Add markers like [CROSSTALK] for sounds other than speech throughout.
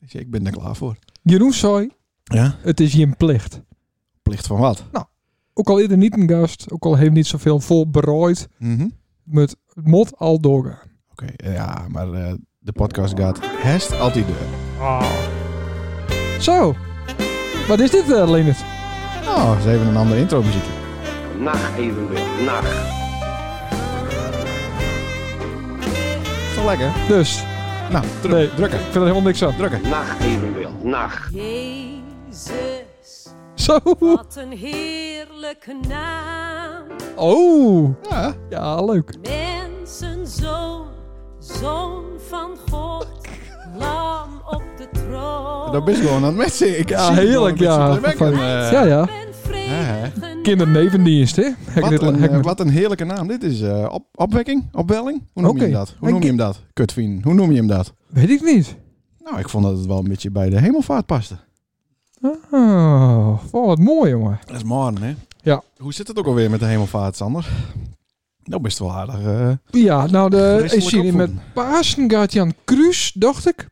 Ik zeg, ik ben er klaar voor. Jeroen zei, Ja? het is je plicht. Plicht van wat? Ook al is er niet een gast, ook al heeft niet zoveel vol berooid, Mhm. met het mot al doorgaan. Oké, ja, maar eh, de podcast gaat hest altijd deur. Zo, wat is dit eh Leonard? Oh, ze hebben een andere intro muziekje. Nacht evenbeeld, nacht. Is toch lekker? Dus, Nou, druk, Nee. drukken, ik vind er helemaal niks aan. drukken. Nacht evenbeeld, nacht. Jezus, Zo, [LAUGHS] wat een heerlijke naam. oh, Ja, ja leuk. Mensenzoon, zoon van God, lam op de troon. dat is gewoon aan het matchen. Ik zie Ja, het gewoon heerlijk, ja. een beetje Van- te werken. Eh, ja, ja. Ben hè. vrede Kindernevendienst, hè? Hek Wat dit- een, hek eh, met- wat een heerlijke naam. Dit is eh, op, opwekking, opwelling. Hoe noem Oké. je hem dat? Hoe Ik- noem je hem dat? Kutvien, hoe noem je hem dat? Weet ik niet. Nou, ik vond dat het wel een beetje bij de hemelvaart paste. Oh, wat mooi, jongen. Dat is morgen, hè? Ja. Hoe zit het ook alweer met de hemelvaart, Sander? Nou, best wel aardig. eh, Ja, nou, de, Christelijk ik zie die met opvoeden. Pasen gaat Jan Kruis, dacht ik.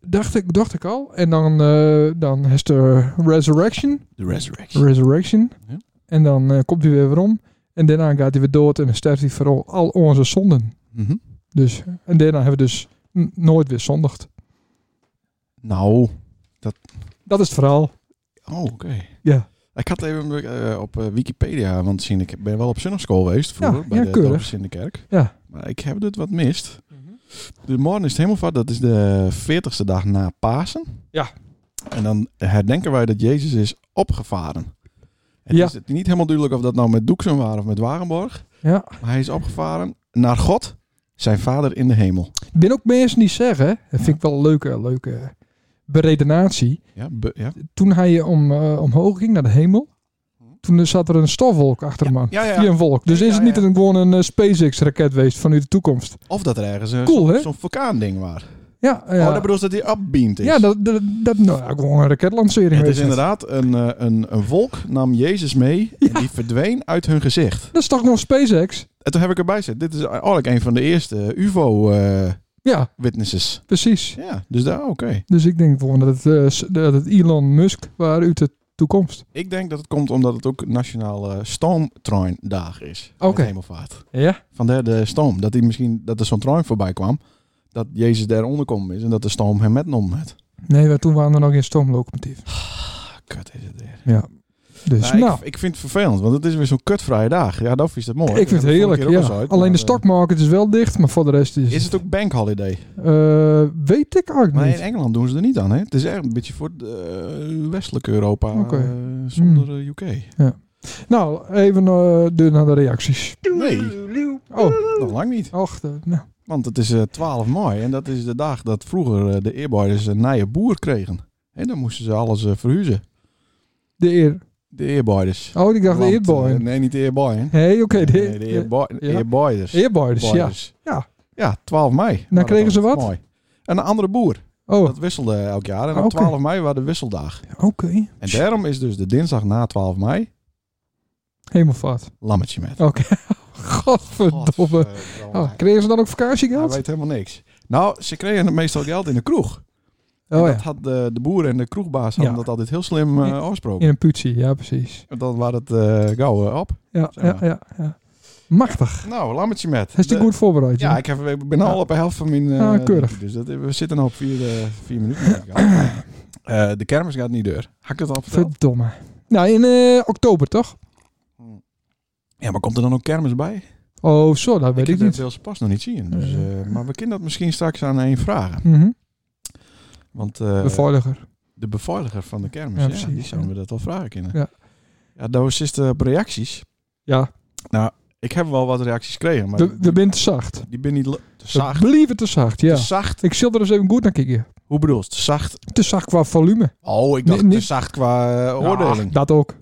Dacht ik, dacht ik al. En dan, eh, dan is de Resurrection. de resurrection. Resurrection. Ja. En dan eh, komt hij weer weer om. En daarna gaat hij weer dood en dan sterft hij voor al- al onze zonden. Mhm. Dus, en daarna hebben we dus n- nooit weer zondigd. Nou, Dat is het verhaal. oh, oké. Ja. Ik had even eh, op eh, Wikipedia, want zien, ik ben wel op zondagschool geweest vroeger, Ja, bij ja, de keurig. Dorpers in de kerk. Ja. Maar ik heb dit wat mist. De morgen is het hemelvaart, dat is de 40ste dag na Pasen. Ja. En dan herdenken wij dat Jezus is opgevaren. Het Ja. is het niet helemaal duidelijk of dat nou met Doeksum waren of met Wagenborg. Ja. Maar hij is opgevaren naar God, zijn vader in de hemel. Ik ben ook mensen die zeggen, dat vind ik wel een leuke, leuke beredenatie. Ja, be- ja. Toen hij om, eh, omhoog ging naar de hemel, toen zat er een stofwolk achter hem aan. Mhm. Ja, ja, ja. Via een wolk. Dus Ja, is het ja, niet ja. een, gewoon een eh, SpaceX-raket geweest vanuit de toekomst? Of dat er ergens een- Cool, hè? zo'n vulkaanding was. Ja, ja. Oh, dat bedoelt dat hij upbeamed is. ja dat, dat, dat- nou, ja, gewoon een het raketlancering is geweest. inderdaad een, eh, een, een wolk nam Jezus mee en die verdween uit hun gezicht. Dat is toch nog SpaceX? En toen heb ik erbij gezet, dit is eigenlijk een van de eerste UFO-witnesses. Ja, precies. Ja, eh, dus daar, oké. Dus ik denk gewoon dat het, eh, s- dat het Elon Musk waren uit de toekomst. Ik denk dat het komt omdat het ook Nationale Stoomtreindag is. Oké. Met Hemelvaart. Ja? Vandaar de stoom. Dat, hij misschien, dat er zo'n trein voorbij kwam. Dat Jezus daaronder kom is en dat de stoom hem metnomen had. Nee, maar toen waren er nog geen stoomlocomotieven. Ah, kut is het weer. Dus Nou, nou, Ik, ik vind het vervelend, want het is weer zo'n kutvrije dag. Ja, dat is het mooi. ik, vind het heerlijk. Ja. Alleen de stok. stockmarket is wel dicht, maar voor de rest is... eh, Is het ook bankholiday? eh, weet ik eigenlijk Maar in niet. Engeland doen ze er niet aan, hè? Het is echt een beetje voor de, eh, westelijke Europa Oké. Hmm. eh, zonder eh, UK. Nou, even eh, door naar de reacties. Nee, Oh, nog lang niet. och, eh, nou. Want het is eh, 12 mei en dat is de dag dat vroeger eh, de eerboerders een nije boer kregen. En dan moesten ze alles eh, verhuizen. De eer. De eerboerders. Oh, ik dacht de Want, eerboy. eh, nee, niet de eerboyen. Hé, [LAUGHS] oké. de Nee, de eer- eerbo- ja. eerboerders. Eerboyders, ja. Boyders. Ja. Ja, 12 mei. Dan kregen ze wat? Mooi. En een andere boer. Oh, Ah, Dat wisselde elk jaar. En op Oké. 12 mei was de wisseldag. oké. En daarom is dus de dinsdag na 12 mei Hemelvaart. lammetje met. Oké. [LAUGHS] Godverdomme. Oh, kregen ze dan ook Hij vakantiegeld? weet helemaal niks. Nou, ze kregen het meestal geld in de kroeg. En Oh dat ja, had de, de boer en de kroegbaas hadden Ja. dat altijd heel slim eh Ja. afgesproken. in een putsie. Ja, precies. En Dan was het eh gauw eh, op. Ja, Zeg ja, maar. ja, ja. Machtig. Nou, lammetje met. Is die De- goed voorbereid? Ja, jongen? ik, heb, ik ben al Ja. op de helft van mijn... eh, Ah, keurig. Dus dat, we zitten al op vier, eh, vier minuten. [CLEARS THROAT] Eh, de kermis gaat niet deur. Hak ik dat al verteld? Verdomme. Nou, in eh, oktober toch? Ja, maar komt er dan ook kermis bij? Oh, zo, dat weet ik, heb het niet. deels pas nog niet zien. Dus, eh, maar we kunnen dat misschien straks aan één vragen. Mhm. Want eh, Beveiliger. de beveiliger van de kermis, Ja, ja, precies, die zouden ja. we dat wel vragen kunnen. Ja. Ja, daar is het eh, op reacties. Ja, Ik heb wel wat reacties gekregen, maar we, we zijn te zacht. die ben niet... le- Te We zacht. blieven te zacht, ja. Te zacht. Ik zal er eens even goed naar kijken. Hoe bedoel je? Te zacht. Te zacht qua volume. Oh, ik dacht Nee, te niet- zacht qua eh, Ah, oordeling. dat ook.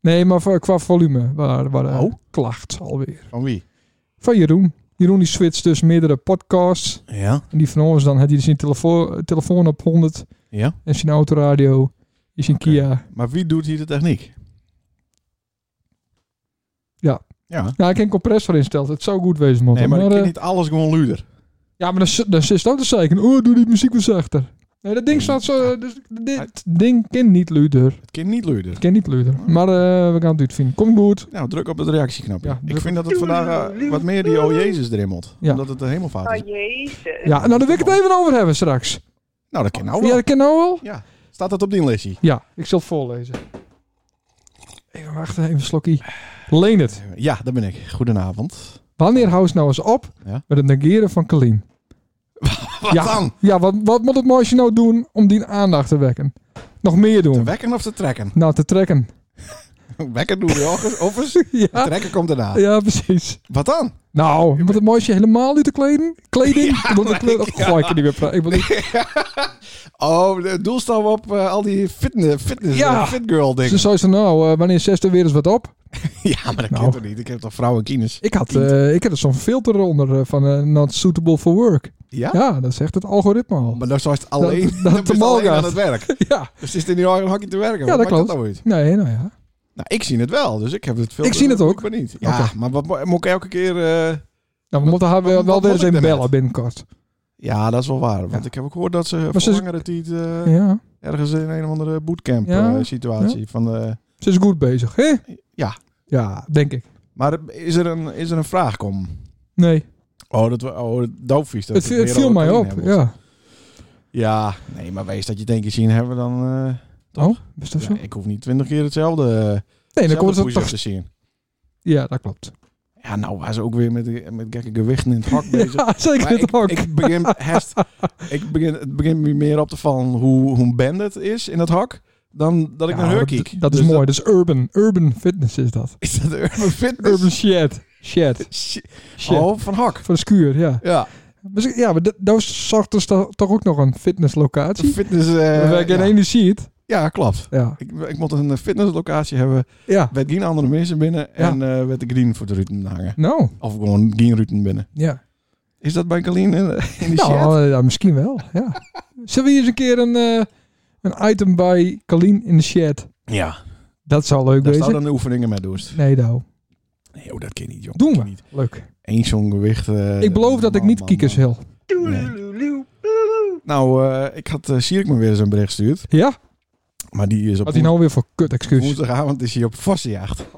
Nee, maar voor- qua volume. Waar, waar de Oh. klacht alweer. Van wie? Van Jeroen. Jeroen die switcht tussen meerdere podcasts. Ja. En die van ons, dan had hij zijn telefo telefoon op 100. Ja. En zijn autoradio. Is in Oké. Kia. Maar wie doet hier de techniek? Ja. Ja. Nou, ik heb een compressor insteld. Het zou goed wezen, man. Nee, maar ik Maar, kan eh, niet alles gewoon luider. Ja, maar dan, zit- dan zit het ook te zeiken. Oh, doe die muziek wat zachter. Nee, dat ding staat zo... Dus, dit ding kan niet luider. Het kind niet luider. Kan niet luider. Maar eh, we gaan het uitvinden. Kom goed. Nou, druk op het reactieknopje. Ja, ik druk vind dat het vandaag eh, wat meer die oh Jezus erin moet. Ja. Omdat het de hemelvaart is. Oh jezus. Ja, nou, daar wil ik het even over hebben straks. Nou, dat kan nou Ja, wel. dat ken nou wel. Ja. Staat dat op die lesje? Ja, ik zal het voorlezen. Even wachten, even een slokkie. Leen het. Ja, dat ben ik. Goedenavond. Wanneer hou ze nou eens op Ja. met het negeren van Kalien? Wat ja, dan? Ja, wat, wat moet het meisje nou doen om die aandacht te wekken? Nog meer Te doen? wekken of te [LAUGHS] trekken? nou, te [LAUGHS] trekken. wekken doen we joh, of eens. ja, Trekken komt daarna. ja, precies. Wat dan? Nou, moet het meisje helemaal niet te kleden? Kleding? Ik wil de kleur- ik- [LAUGHS] ja. Goh, ik kan niet meer praten. Ik wil niet- Oh, de doelstel op eh, al die fitness, fitness Ja. eh, fit girl dingen. Ze zei ze nou, eh, wanneer zes er weer eens wat op? [LAUGHS] ja, maar dat Nou. kan toch niet? Ik heb toch vrouwen kines? Ik had, eh, ik had er zo'n filter onder eh, van eh, not suitable for work. Ja? Ja, dat zegt het algoritme al. Maar dan zou het alleen, Dat- [LAUGHS] dan dat te is het mal alleen aan gaat. het werk. [LAUGHS] Ja, Dus het is er niet aan een hakje te werken. ja Wat dat maakt klopt. nou uit? nee, nou ja. Nou, ik zie het wel, dus ik heb het veel. Ik zie het ook. Maar niet. Ja, Oké. maar wat mo- moet ik elke keer... eh, Nou, we moeten haar wel, wat- wel wat weer moet eens ik in daarmee? bellen binnenkort. Ja, dat is wel waar. Want Ja. ik heb ook gehoord dat ze ze- verlangen dat die het, eh, Ja. ergens in een of andere bootcamp Ja. eh, situatie van de... Ze is goed bezig, hè? Ja. Ja, denk ik. Maar is er een, is er een vraag kom? Nee, Oh, dat wa- oh, doofvies. Dat het, we viel- het weer viel over mij Colleen op. hebben. Ja. Ja, nee, maar wees dat je denk ik zien hebben dan... eh, Toch? Oh, is dat zo? ja, ik hoef niet twintig keer hetzelfde, eh, nee, dan hetzelfde komt het push-up toch... te zien. Ja, dat klopt. Ja, nou waren ze ook weer met, de- met gekke gewichten in het hak bezig. [LAUGHS] Ja, zeker Maar in het ik, hok. ik begin, hest, ik begin, het begint me meer op te vallen hoe, hoe band het is in het hak, dan dat ik Ja, naar haar dat- kijk. Dat is Dus mooi. Dat is urban. Urban fitness is dat. Is dat Urban Fitness? [LAUGHS] Urban shed. Shed. Shit. Shed. Oh, van hak. Voor de skuur, ja. Ja, Misschien- Ja, maar dat- daar zorgt dus toch toch ook nog een de fitnesslocatie. fitness... eh, Waar ik in ja. één ziet. ja, klopt. Ja. Ik, ik moet een eh, fitnesslocatie hebben, Ja. met geen andere mensen binnen en eh met de green voor de ruten hangen. Nou, Of gewoon geen ruten binnen. ja. Is dat bij Kalien in, [LAUGHS] in die chat? Nou, eh, ja, misschien wel. Ja. Zullen we hier eens een keer een, eh, een item bij Kalien in de chat? Ja, Dat zou leuk daar staan wezen. dan de oefeningen met doest. Nee, nou. Nee, oh, dat kan niet, jongen. Doen Dat kan we. Niet. Leuk. Eén zo'n gewicht. eh, ik beloof dat ik man, niet man, kiekers man. heel. Nou, eh, ik had eh Sierik me weer eens een bericht gestuurd. Ja? Maar die is op Wat hij nou weer voor kut woens- excuus. woensdagavond is hij op vossenjacht. [LAUGHS]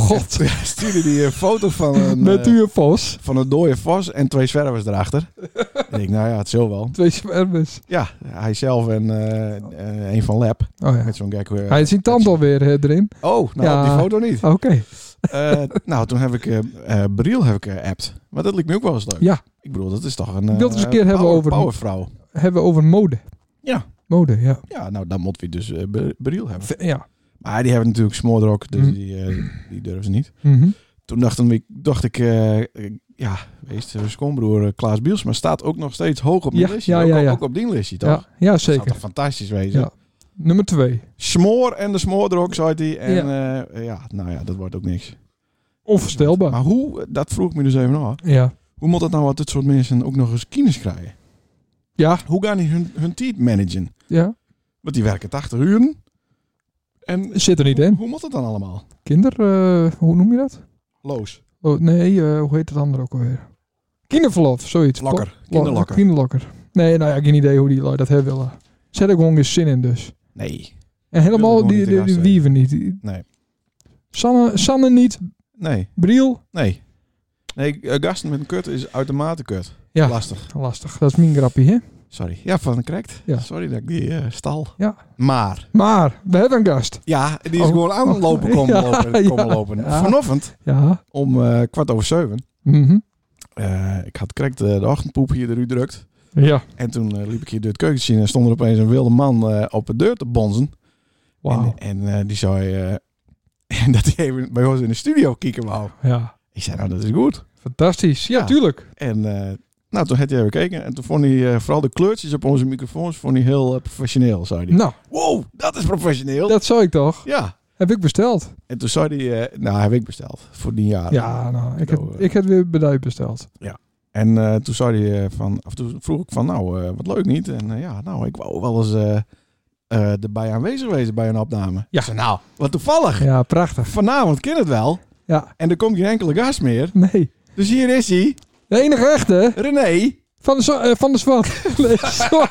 God. Stuurde die een foto van een, [LAUGHS] Met eh, uw vos. van een dode vos en twee zwervers [LAUGHS] erachter. ik denk, nou ja, het zal wel. Twee zwervers. Ja, hij zelf en eh, eh, een van Lab. Oh ja. Met zo'n gek. eh, Hij heeft zijn tand alweer eh, erin. Oh, nou, Ja. die foto niet. Oké. Eh, nou, toen heb ik eh eh, Briel heb ik eh, appt. Maar dat liep me ook wel eens leuk. Ja. Ik bedoel, dat is toch een. wil het eh, eens een keer hebben power- over- Powervrouw. Hebben we over mode. Ja. Mode, ja. Ja, nou, dan moeten we dus eh, Br- Briel hebben. V- Ja. Maar die hebben natuurlijk smoorderok, dus Mhm. die, eh, die durven ze niet. Mhm. Toen dacht ik, dacht ik eh, eh, ja, wees de schoonbroer eh, Klaas Biels, maar staat ook nog steeds hoog op mijn Ja, listje. ja, ook, ja, al- ja. ook op die listje, toch? ja. Ja, Dat zou zeker. toch fantastisch wezen? Ja. Nummer twee. Smoor en de smoordrok, zei hij. En ja. ja, nou ja, dat wordt ook niks. Onvoorstelbaar. Maar hoe, dat vroeg ik me dus even af, Ja. hoe moet dat nou wat dit soort mensen ook nog eens kines krijgen? Ja. Hoe gaan die hun, hun tijd managen? Ja. Want die werken 80 uur. En Zit er niet in. hoe moet dat dan allemaal? Kinder, eh, hoe noem je dat? Loos, Oh, nee, eh, hoe heet het andere ook alweer? Kinderverlof, zoiets. lokker, Po- kinderlokker. Kinderlokker. Nee, nou ja, geen idee hoe die lui dat hebben willen. Zet er gewoon eens zin in dus. Nee, En helemaal gewoon die, niet te die, gast die zijn. wieven niet. Die- Nee. Sanne, Sanne niet, nee. Briel. Nee. Nee, eh, gasten met een kut is uitermate kut. Ja. Lastig. Lastig, dat is mijn grappie, hè? Sorry. Ja, van correct. Ja. Sorry dat ik die eh, stal. Ja. Maar, Maar, we hebben een gast. ja, die is Oh. gewoon aanlopen komen [LAUGHS] Ja, lopen. Komen ja, lopen. ja. Vanochtend, Ja. om eh, kwart over zeven, Mhm. eh, ik had correct eh, de ochtendpoep hier eruit drukt. Ja. En toen eh, liep ik hier door het keukentje en stond er opeens een wilde man eh, op de deur te bonzen. En, Wauw. en eh, die zei eh, [LAUGHS] dat hij even bij ons in de studio kieken wou. Ja. Ik zei, nou dat is goed. Fantastisch. Ja, Ja. tuurlijk. En eh, nou, toen had hij even gekeken. En toen vond hij eh, vooral de kleurtjes op onze microfoons vond hij heel eh, professioneel, zei hij. Nou, Wow, dat is professioneel. dat zou ik toch. Ja. Heb ik besteld. En toen zei hij, eh, nou, heb ik besteld voor die jaar. Ja, nou, ik heb, Nou, eh. ik heb weer beduid besteld. En eh, toen zei hij eh, van, of toen vroeg ik van, nou, eh, wat leuk niet. En eh, ja, nou, ik wou wel eens eh eh, erbij aanwezig wezen bij een opname. Ja. Ik zei, nou, wat toevallig. Ja, prachtig. Vanavond kan het wel. Ja. En er komt geen enkele gast meer. Nee. Dus hier is hij, De enige echte. René Van de, Zwa- eh, van de Zwan. [LAUGHS] Nee, Zwan.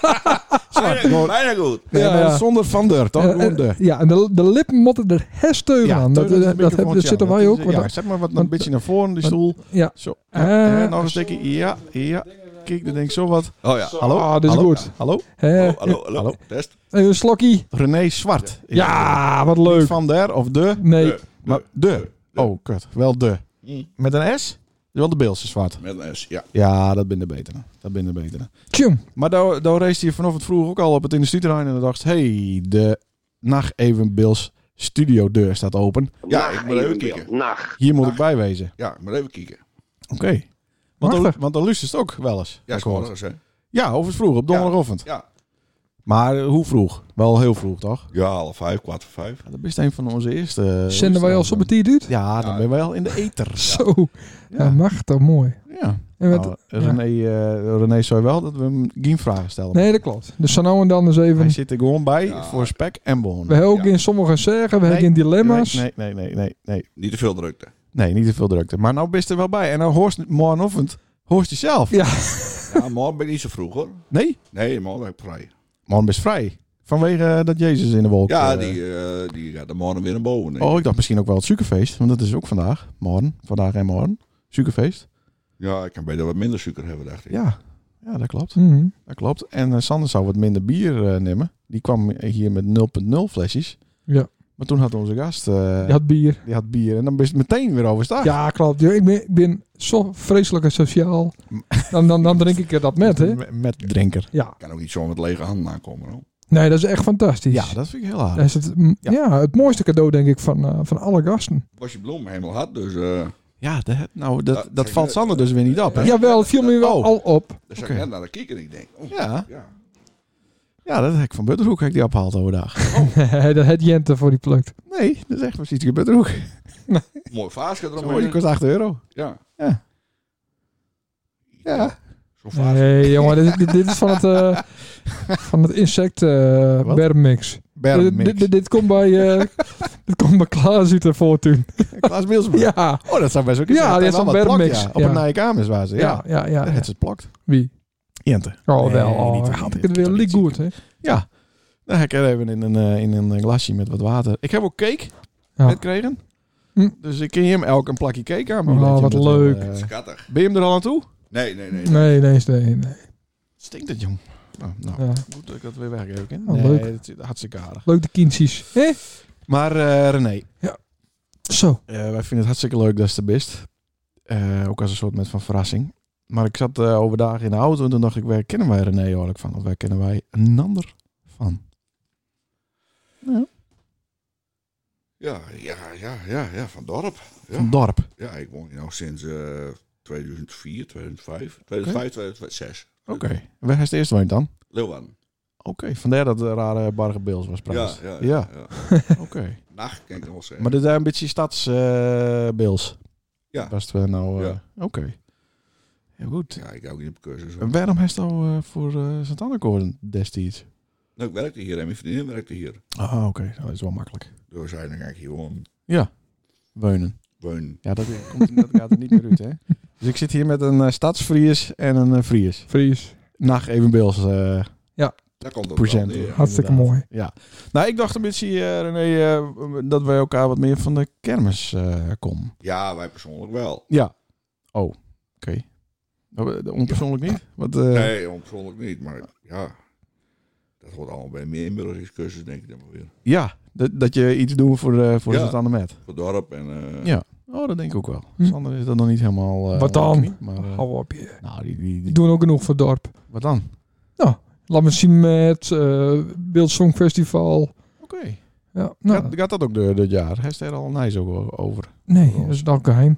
Snap, gewoon, Bijna goed. nee, Ja, maar ja. Zonder van der, toch? Eh, Gewoon eh, de. ja, en de, de lippen moeten er hersteugen aan. Dat, eh, dat, dat, heb- dat zitten wij ook. want Ja, dat- zet maar wat, een want- beetje naar voren, die stoel. ja. Zo. Eh, Ja, nou, nog een stukje. Ja, ja. Kijk, dan denk ik zo wat. Oh ja. Hallo? Ah, dit is hallo? goed. Hallo? hè, Hallo, Oh, hallo, hallo. Eh, Hallo. Test. een slokkie. René Zwart. is het. Ja, wat Niet leuk. Van Eh, der of de. Nee, Maar de. Oh, kut. Wel de. Met een S? Wel de Beelse Zwart. Met een S, ja. Ja, dat ben de betere. Dat ben de betere. tjum. Maar daar daar race hij vanaf het vroeg ook al op het industrieterrein. En dan dacht hey, de Nacht Evenbeels studio deur staat open. Ja, Nacht ik moet even evenbeeld. kijken. Nacht. Hier moet ik bij wezen. Ja, maar even kijken. Oké. Want, dan- Machtig. want dan luistert het ook wel eens. Ja, Ik is hoor. wel eens, hè? Ja, of het vroeg, op donderdagochtend. Ja. Maar eh, hoe vroeg? Wel heel vroeg, toch? Ja, half vijf, kwart voor vijf. Ja, dat is een van onze eerste. eh, Zenden wij al zo'n luisteraars. beetje duurt? Ja, dan Ja. ben je wel in de eter. Zo. Ja, Ja. machtig mooi. Ja. En met, Nou, René, eh René zei wel dat we hem geen vragen stellen. nee, dat klopt. Dus zo nou en dan eens Hij even... zit er gewoon bij Ja. voor spek en bon. We hebben ook Ja. in sommige zeggen, we hebben in dilemma's. Nee, nee, nee, nee, nee. Niet te veel drukte. Nee, niet te veel drukte. Maar nou bist er wel bij. En nou hoorst morgenochtend, hoorst je zelf. Ja. [LAUGHS] Ja, morgen ben ik niet zo vroeg, hoor. Nee, Nee, morgen ben ik vrij. morgen bist vrij. Vanwege eh, dat Jezus in de wolk. Ja, eh, die, eh, die gaat de morgen weer naar boven. denk ik. Oh, ik dacht misschien ook wel het suikerfeest. Want dat is ook vandaag. Morgen. Vandaag en morgen. Suikerfeest. Ja, ik kan beter wat minder suiker hebben, dacht ik. Ja. Ja, dat klopt. Mhm. Dat klopt. En eh, Sander zou wat minder bier eh, nemen. Die kwam hier met 0,0 flesjes. Ja. Maar toen had onze gast, eh, Je had bier. die had bier. En dan bist het meteen weer overstag. Ja, klopt. Ja, Ik ben, ik ben zo vreselijk asociaal. Dan, dan, dan drink ik er dat [LAUGHS] met, hè? Met, met drinker. Ja. Ik kan ook niet zo met lege handen aankomen, hoor. Nee, dat is echt fantastisch. Ja, dat vind ik heel Dat aardig. is het, mm, Ja. ja. het mooiste cadeau, denk ik, van, eh, van alle gasten. Was je bloem helemaal hard, dus... eh Ja, dat, nou, Ja, dat, dat vind valt ik- Sander dus weer niet op. Hè? Jawel, het viel me wel Oh. al op. [LAUGHS] dan zag Oké. ik net naar de kikker en ik denk... Oh, Ja. ja. Ja, dat hek van Butterhoek heb ik die opgehaald overdag. dat had Jente voor die plukt. Nee, dat is echt precies die Butterhoek. Mooi vaasje Zo, die eromheen. kost 8 euro. Ja. Ja. Ja. Zo'n vaas. Nee, jongen, dit, dit- dit is van het, [LAUGHS] eh, van het insect eh Wat? bermmix. Dit, Bermmix. dit, dit komt bij, [LAUGHS] eh dit komt bij Klaas uit de voortuin. Klaas Bielsma. Ja. Oh, dat zou best wel kunnen. Ja, die dat is wel een wat bermmix. plakt, ja. Op een Ja. naaie kamers waar ze. Ja, Ja, ja, ja. dat ja. het ze plakt. Wie? Jente. Oh, Nee, wel. niet Oh, waar. had ik Dit het weer kan liek niet goed, hè? Ja. Dan heb ik er even in een, eh, in een glasje met wat water. Ik heb ook cake Ja. net gekregen. Hm. Dus ik kun je hem elk een plakje cake aanbieden. Oh, Dat je wat hem dat leuk. wel, eh, Schattig. ben je hem er al aan toe? Nee, nee, nee. Nee, nee, nee. nee. Stinkt het, jong. Nou, nou Ja. moet ik dat weer weggeven. hè? Oh, nee, leuk. Het zit hartstikke aardig. Leuk de kindjes. Hé? Maar eh René, Zo. Eh, wij vinden het hartstikke leuk dat ze er best. ook als een soort met van verrassing. Maar ik zat eh, overdag in de auto en toen dacht ik, waar kennen wij René eigenlijk van? Of waar kennen wij een ander van? Ja, ja, ja, ja, ja, van dorp. Van het dorp. Oké. Ja, ik woon hier nou sinds eh 2004, 2005, 2005, 2006. Waar is het eerst woont dan? Leeuwarden. Oké, vandaar dat de rare Bargebeels was Ja, praat. ja, ja. Ja, ja. oké. Nacht kan ik nog wel zeggen. Maar dit is een beetje stadsbeels. Ja. Was het nou... eh, Ja. Oké. Ja, goed. Ja, ik ga ook niet op cursus. hoor. En waarom heeft het al eh, voor eh Sint-Annekoorden destijds? Nou, ik werkte hier en mijn vriendin werkte hier. Ah, oké. Nou, dat is wel makkelijk. Dus eigenlijk ga ik hier gewoon Weunen. wonen. Ja, dat, eh, komt, dat gaat er niet meer [LAUGHS] uit, hè? Dus ik zit hier met een eh, stadsvries en een eh, vries. Fries. Nacht evenbeels. eh Daar komt het Procent. wel neer. Hartstikke Inderdaad. mooi. ja. Nou, ik dacht een beetje, eh, René, eh, dat wij elkaar wat meer van de kermis eh, komen. Ja, wij persoonlijk wel. Ja. Oh, oké. Nou, eh, Onpersoonlijk niet? Wat, eh, Nee, onpersoonlijk niet, maar ja. Dat hoort allemaal bij meer inburgeringscursus, denk ik dan maar weer. Ja, dat, dat je iets doet voor, eh voor Ja. het aan de met. Voor dorp en... eh, Ja. Oh, dat denk ik ook wel. Hm. Sander is dat nog niet helemaal... eh, Wat dan? onder de knie, maar, eh, Hou op je. nou, die, die, Die die- doen ook genoeg voor het dorp. wat dan? Laat me zien met eh Beeld Songfestival. Oké. Ja, nou, Gaat, gaat dat ook door dit jaar? Hij is er al nijs ook over. nee, dat is dan geheim.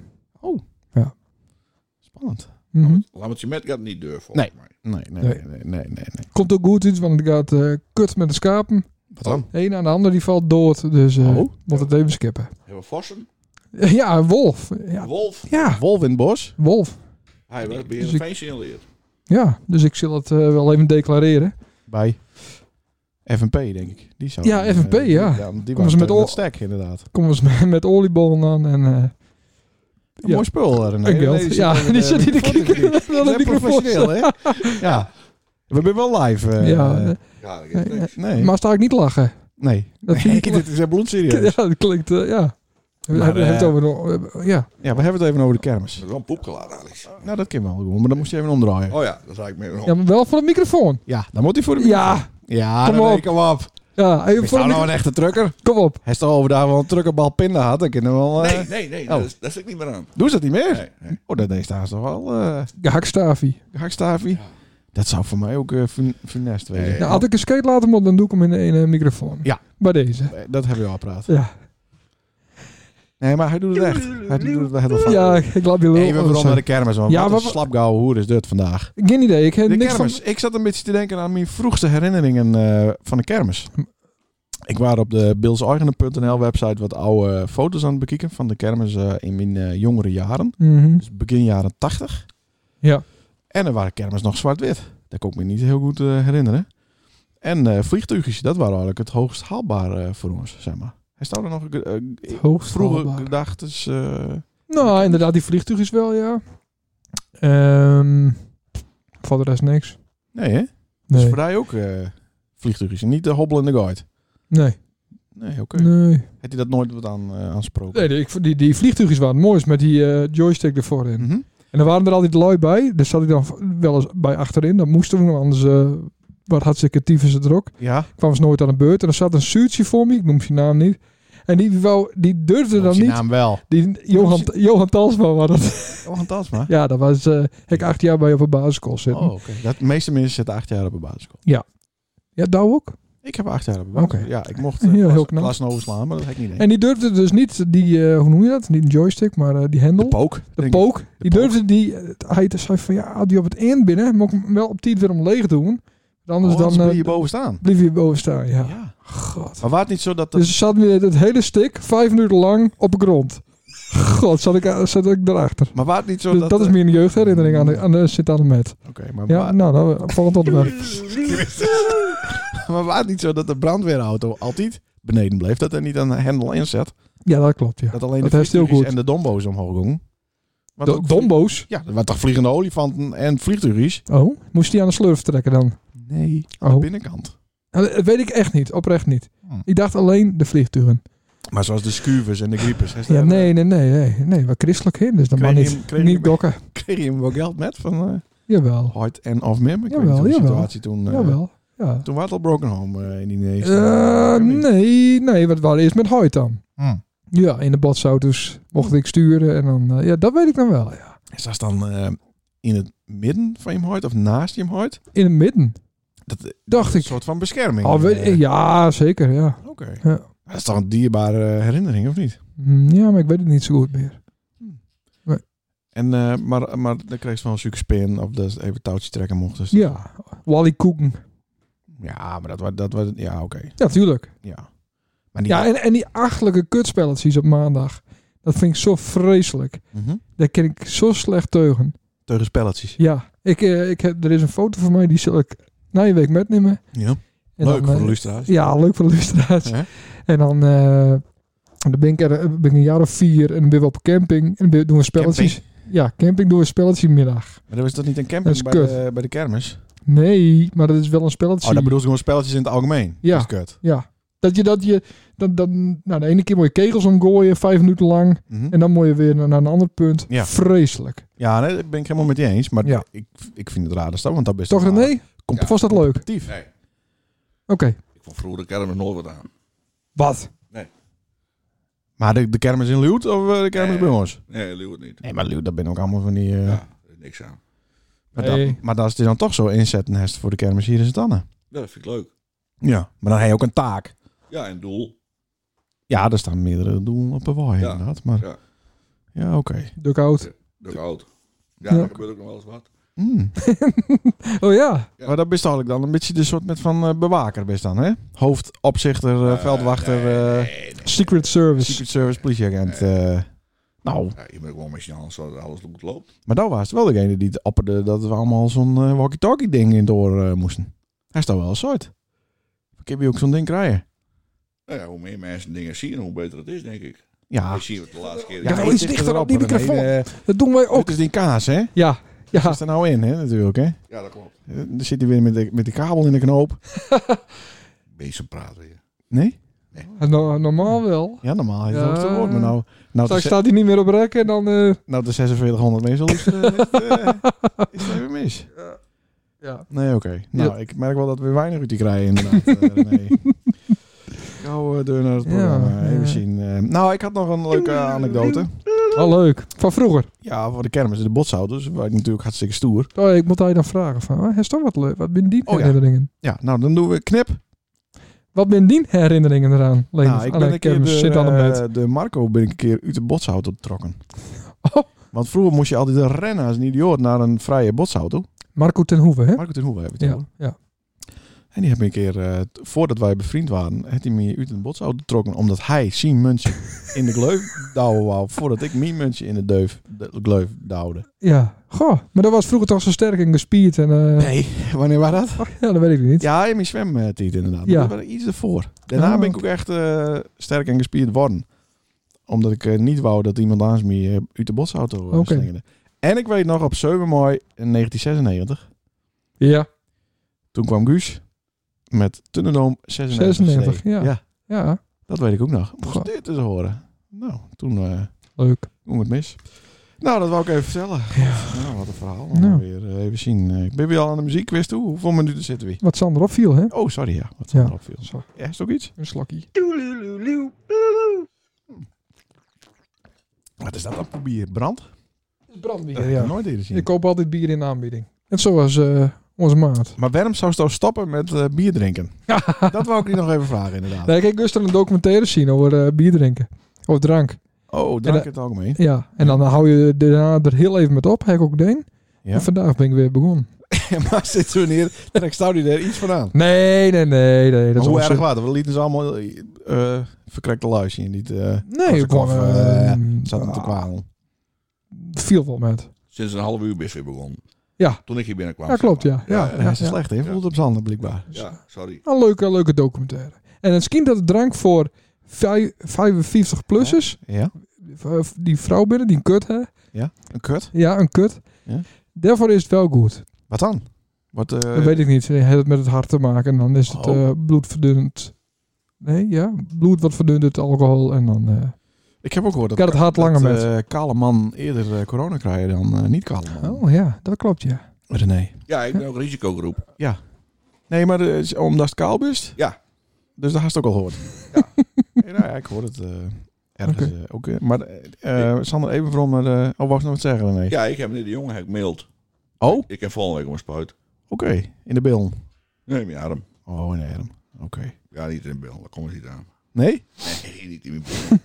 Spannend. Mhm. Lammertje met gaat niet deur, volgens Nee. mij. Nee, nee, nee, Nee. nee, nee. nee. Komt ook goed iets, want het gaat eh, kut met de schapen. Wat dan? De een aan de ander die valt dood. Dus eh Oh. moet het even skippen. Eh, Hebben we vossen? Ja, een wolf. Ja, Wolf? ja Wolf in het bos? wolf. Hij werd bij Dus een ik- feestje geleerd. Ja, dus ik zal het eh, wel even declareren. Bij FNP, denk ik. Die zou Ja, eh, FNP, ja. Die, die Komen was met ze [LAUGHS] met het oor- stek, inderdaad. Kom eens met, met oliebollen aan en... eh, Een mooi spul, René. En geld. René, Ja, zit in die de- zit in de microfoon kikker. natuurlijk. [LAUGHS] Wel Dat een is microfoon. professioneel, hè? Ja. We zijn wel live. eh, Ja, eh, Ja, dat is niks. nee. maar sta ik niet lachen. nee. Dat Nee, vind ik kijk, [LAUGHS] dit is echt bloedserieus. [LAUGHS] Ja, dat klinkt, eh, ja. We Maar, hebben eh, het over, een- eh, ja. Ja, we hebben het even over de kermis. Dat is wel een poepgeladen, Alex. Nou, dat kan wel doen, maar dan moest je even omdraaien. Oh ja, dat zei ik me ja, nog. maar wel voor de microfoon. Ja, dan moet hij voor de... Ja, ja Kom kom op. op. Kom op. ja, even Is voor de nou nou micro- een echte trucker? Kom op. Hij staat over daar wel een truckerbal pinda had. Dan kunnen we wel... eh, Nee, nee, nee. Oh. Dat, is- dat zit niet meer aan. Doen ze dat niet meer? Nee, nee. Oh, dat deed staan ze toch wel. eh Hakstavi. hakstaafie. Dat zou voor mij ook eh fun- funest zijn. Nee. Nou, als ik een skate later moet, dan doe ik hem in de ene microfoon. Ja. Bij deze. Eh, Dat hebben we al gepraat. Ja, Nee, maar hij doet het echt. Hij doet het echt. ja ik laat je wel. Even weer om naar de kermis, man. eh, Ja, Ja, maar- wat een slapgouwe hoer is dit vandaag. Geen idee, ik heb De niks kermis. Ik zat een beetje te denken aan mijn vroegste herinneringen eh, van de kermis. Ik was op de bilseigenen.nl website wat oude foto's aan het bekijken van de kermis eh, in mijn eh, jongere jaren. van... Mhm. Dus begin jaren 80. Ja. En er waren kermis nog zwart-wit. Dat kan ik me niet heel goed eh, herinneren. En eh vliegtuigjes, dat waren eigenlijk het hoogst haalbaar eh, voor ons, zeg maar. Hij staat er nog eh, eh, Hoogst vroeger haalbaar. gedacht. Dus, eh, Nou, inderdaad, die vliegtuig is wel, ja. Ehm voor de rest niks. nee, hè? Dus Nee, voor jou ook eh vliegtuigjes en niet de hobbelende guide. nee, Nee, oké. nee. Had hij dat nooit wat aan, eh aansproken? nee die, ik vond die, die vliegtuigjes waren het mooist met die eh, joystick ervoor in. Mhm. En er waren er altijd lui bij. Daar zat ik dan wel eens bij achterin. Dat moesten we, want anders eh wat hartstikke tief is het er ook. Ja, Ik kwam ze nooit aan de beurt. En er zat een zuurtje voor me. Ik noem zijn naam niet. En die, wou, die durfde dat dan is die niet. naam wel. Die Johan, Johan Talsma was dat. Oh, een Talsma. [LAUGHS] Ja, dat was... eh ik acht jaar bij op een basisschool zitten. Oh, oké. Dat, de meeste mensen zitten acht jaar op een basisschool. Ja, Douw ook. Ik heb acht jaar op een basisschool. Oké. Ja, ik mocht eh [LAUGHS] Ja, heel klas- knap. klassen overslaan, maar dat heb ik niet En die durfde dus niet die, eh, hoe noem je dat? Niet een joystick, maar eh, die hendel. De De, pook. denk ik. pook. die pook. durfde die, eh, hij zei van ja, had die op het eind binnen, mocht ik hem wel op tijd weer omleeg doen. Want Anders Oh, anders dan dan eh, ben je boven staan. bleef je boven staan. Ja. Ja. God. Maar was het niet zo dat... dat Dus zat weer het hele stuk vijf minuten lang op de grond. [LAUGHS] God, zat ik, eh, zat ik erachter. maar was het niet zo Dus dat... dat, is eh, meer een jeugdherinnering aan de, aan de sint aan de met. Oké, maar, Ja, wa- nou, dan, eh, volgend [LAUGHS] onderwerp. [LAUGHS] maar was het niet zo dat de brandweerauto altijd beneden bleef? Dat er niet een hendel in zat? Ja, dat klopt, ja. Dat alleen Dat de heeft heel vliegtuigjes goed. en de dombo's omhoog gingen? Wat De ook- dombo's. Ja, er waren toch vliegende olifanten en vliegtuigjes? Oh, moest die aan de slurf trekken dan? Nee. Aan de Oh. binnenkant. Nou, Dat weet ik echt niet, oprecht niet. Hm. Ik dacht alleen de vliegtuigen. Maar zoals de scuivers en de griepers. hè, [LAUGHS] Ja, daar, nee, nee, nee, nee. Nee, we christelijk heen, dus dat Kreeg mag je niet. hem- kreeg je niet Oh, hem- dokken. eh, Kreeg je hem wel geld met van eh Jawel. Hart en Of Mem? Ik weet Jawel, niet hoe de jawel. situatie toen... eh, Jawel. Ja. Toen was het al Broken Home eh, in die neus. Eh, nee, nee, wat waren eerst met Hoyt dan? Hm. Ja, in de botsauto's mocht ik sturen en dan... eh, ja, dat weet ik dan wel, ja. Is dat dan eh, in het midden van je hart of naast je hart? In het midden, Dat eh, dacht een ik. soort van bescherming. Oh, weet- eh, ja, zeker, ja. Oké. Ja. Dat is toch een dierbare eh, herinnering, of niet? Hm, Ja, maar ik weet het niet zo goed meer. En, eh, maar, maar dan kreeg ze wel een suikerspin of dat ze even het touwtje trekken mocht. Dus. Ja, Wally Koeken. Ja, maar dat was... Dat was ja, oké. Ja, tuurlijk. Ja. Maar die... Ja, en, en die achtelijke kutspelletjes op maandag. Dat vind ik zo vreselijk. Mhm. Daar ken ik zo slecht teugen. Tegen spelletjes. Ja, ik, eh, ik heb, er is een foto van mij, die zal ik na je week metnemen. Ja. En Leuk dan, voor de eh, lustra's. Ja, leuk voor de lustra's. Ja. En dan, eh, dan ben, ik er, eh, ben ik een jaar of vier en dan ben ik op camping en dan ben- doen we spelletjes. Ja, camping doen we spelletjes middag. Maar dan is dat niet een camping Dat is bij, kut. de, bij de kermis? Nee, maar dat is wel een spelletje. Oh, dat bedoelt gewoon spelletjes in het algemeen. Ja. Dat is kut. Ja, dat je dat je, dan, dan, nou de ene keer moet je kegels omgooien, vijf minuten lang. Mhm. En dan moet je weer naar, naar een ander punt. Ja. Vreselijk. Ja, nee, daar ben ik helemaal met je eens. Maar Ja. ik, ik vind het raar dat want dat is Toch wel René? Of comp- was dat leuk? Oké. competitief. Nee, ik vond vroeger de kermis nooit wat aan. Wat? Maar de, de kermis in Leeuwarden of eh, de kermis Nee. bij ons? Nee, Leeuwen niet. Nee, maar Leeuwarden, dat ben ook allemaal van die... eh, Ja, er is niks aan. Maar, Nee. dat, maar dat is het dan toch zo inzetten hest voor de kermis hier in Zanne. Ja, dat vind ik leuk. Ja. Maar dan heb je ook een taak. Ja, en doel. Ja, er staan meerdere doelen op een waai Ja. inderdaad. Maar ja, Ja. oké. Duckout. De oud. Ja, Ja. daar gebeurt ook nog wel eens wat. Hmm. Oh ja. Ja. Maar dat best eigenlijk dan een beetje de soort met van eh, bewaker best dan, hè? Hoofdopzichter, eh, veldwachter, eh, Nee, nee, nee. Secret Service. Secret Service politieagent. eh. nou, Ja, je moet gewoon met je hand zodat alles goed loopt. Maar dat was het wel degene die het opperde dat we allemaal zo'n eh, walkie-talkie ding in het oor eh, moesten. Hij is toch wel een soort. Ik heb je ook zo'n ding krijgen. Nou ja, hoe meer mensen dingen zien, hoe beter het is, denk ik. Ja, Ik zie het de laatste keer. Ja, Ja, nou, iets dichter op die microfoon. Dat doen wij ook. Ook is die kaas, hè? Ja, ja. Wat is er nou in, hè, natuurlijk, hè? ja dat klopt. Eh, Dan zit hij weer met de, met de kabel in de knoop. Bezem praten weer. Nee? No- normaal wel. Ja, normaal heeft Ja. dat het woord. Maar nou, nou, Straks de, staat hij niet meer op rek en dan... eh, ze- nou de 4600 meestal is, eh, is, eh, is het even mis. ja. Nee, oké. Nou, ik merk wel dat we weinig uit die krijgen, inderdaad. [LAUGHS] Eh, nee. Nou, eh, deur naar het Ja, programma. even ja. zien. eh. nou, ik had nog een leuke anekdote. Wel leuk. Van vroeger. Ja, voor de kermis en de botshouders. Waar ik natuurlijk hartstikke stoer. Oh, ik moet daar dan vragen van... "Ah, Heeft toch wat leuk? Wat ben die Oh, ja. herinneringen? Ja, nou, dan doen we knip. Wat ben die herinneringen eraan? Leen, Nou, ik ben een keer de, zit aan de bed. eh, de Marco ben ik een keer uit de botsauto getrokken. Oh. Want vroeger moest je altijd rennen als een idioot naar een vrije botsauto. Marco ten Hoeve, hè? Marco ten Hoeve hebben we het Ja, over. ja. En die heb ik een keer, eh, t- voordat wij bevriend waren, heeft hij me uit een botsauto getrokken. Omdat hij zijn [LAUGHS] muntje in de gleuf douwen wou. Voordat ik mijn muntje in de, deuf, de gleuf douwde. Ja. Goh, maar dat was vroeger toch zo sterk en gespierd en... eh, Nee, wanneer was dat? ach, [LAUGHS] ja, dat weet ik niet. Ja, in mijn zwemtijd inderdaad. Ja. Ja. Dat was iets ervoor. Daarna Ah, ben ik ook echt eh, sterk en gespierd worden. Omdat ik eh, niet wou dat iemand naast me eh, uit de botsauto eh, Oké. slingerde. En ik weet nog, op 7 mei in 1996, Ja. toen kwam Guus met Tunnendoom 96. 96, ja. Ja, dat weet ik ook nog. Moest Goh. dit eens horen. Nou, toen eh leuk. ging het mis. Nou, dat wou ik even vertellen. Nou, wat een verhaal. Nou. Nou. Weer, eh, even zien. Eh, ik ben weer al aan de muziekquiz toe. Hoeveel minuten zitten we? Wat Sander opviel, hè? Oh, sorry ja. Wat Ja. ja. opviel. Zo, Ja, is het ook iets? een slokkie. Wat is dat dan voor bier? Brand? Brandbier, Dat heb ik nooit eerder zien. Ik koop altijd bier in de aanbieding. Net zoals eh, onze maat. Maar waarom zou ze nou stoppen met eh, bier drinken? [LAUGHS] dat wou ik je nog even vragen, inderdaad. Nee, kijk, dus dan een documentaire zien over eh, bier drinken. Of drank. Oh, En eh, drank dat- in het algemeen. [LAUGHS] Ja, en dan hou je daarna er heel even met op. Heb ik ook deen. Ja. En vandaag ben ik weer begonnen. maar sinds wanneer trekt Staudi er iets van aan? Nee, nee, nee. nee dat Maar is hoe onzin. erg was dat? We lieten ze allemaal eh verkrekte luisje in. Niet, eh Nee, Als ik ik af, kwam... eh, zat zaten te kwamen. ah, Viel wel met. Sinds een half uur ben je begonnen. Ja. Toen ik hier binnenkwam. Ja, zeg klopt, maar. ja. Ja, Ja, ja, Eh, is een ja. slechte invloed op zanden, blijkbaar. Ja, sorry. Een leuke, leuke documentaire. En het schijnt dat de drank voor vij- 55-plussers, Ja, v- die vrouw binnen, die een kut hè? een kut. Ja, een kut. Ja. Daarvoor is het wel goed. Wat dan? Wat, eh, dat weet ik niet. Het heeft het met het hart te maken. En dan is het Oh. eh, bloedverdunnend. Nee, ja. Bloed wat verdunt het alcohol. En dan... eh, ik heb ook gehoord dat, Ik had het hard dat, langer eh, kale man eerder eh, corona krijgen dan eh, niet kale man. oh ja, dat klopt, ja. René. Ja, ik ben ook risicogroep. Nee, maar eh, is- omdat het kaal bist? Ja. Dus daar had je het ook al gehoord? [LAUGHS] Ja. Nee, nou ja, ik hoor het eh, ergens eh, ook. eh, maar eh, eh, Sander, even voorom naar de... Oh, wou ik nog wat zeggen, René? Ja, ik heb net de jongen gemaild. Oh, oké. Ik heb volgende week om een spuit. In de bil. Nee, mijn arm. Oh, in de arm. Oké. Ja, niet in de bil. Dat komt er niet aan. [LAUGHS] Nee? Nee, niet in mijn bil.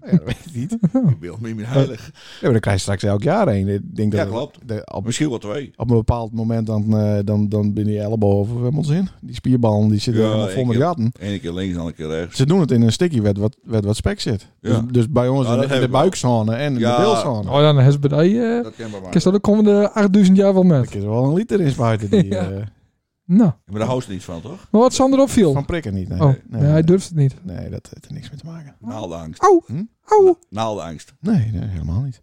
Nou Ja, dat [LAUGHS] weet ik niet. Ja, Mijn bil, niet meer heilig. maar dan krijg je straks elk jaar een. Ik denk dat Ja, klopt. de- op, Misschien wel twee. op een bepaald moment dan, eh, dan, dan ben die elleboog of wat in. Die spierballen die zitten Ja, helemaal vol ik met heb- gaten. Eén keer links, dan een keer rechts. Ze doen het in een stickie wet wat, wet wat spek zit. Dus, Ja. dus bij ons Ja, in de, dat in heb de ik wel. buikzone en in Ja. de bilzone. Oh, dan is het bij die, eh Dat ken bij mij. Ik zal de komende 8000 jaar wel Dan met. kun je er wel een liter in spuiten. Die, Ja. eh, Nou, Maar daar houdt ze niet van, toch? maar wat Sander opviel. van prikken niet. Nee, Oh, nee, nee, hij nee, durft het niet. nee, dat heeft er niks mee te maken. Naaldenangst. Au, Hm? au. Naaldenangst. Nee, nee helemaal niet.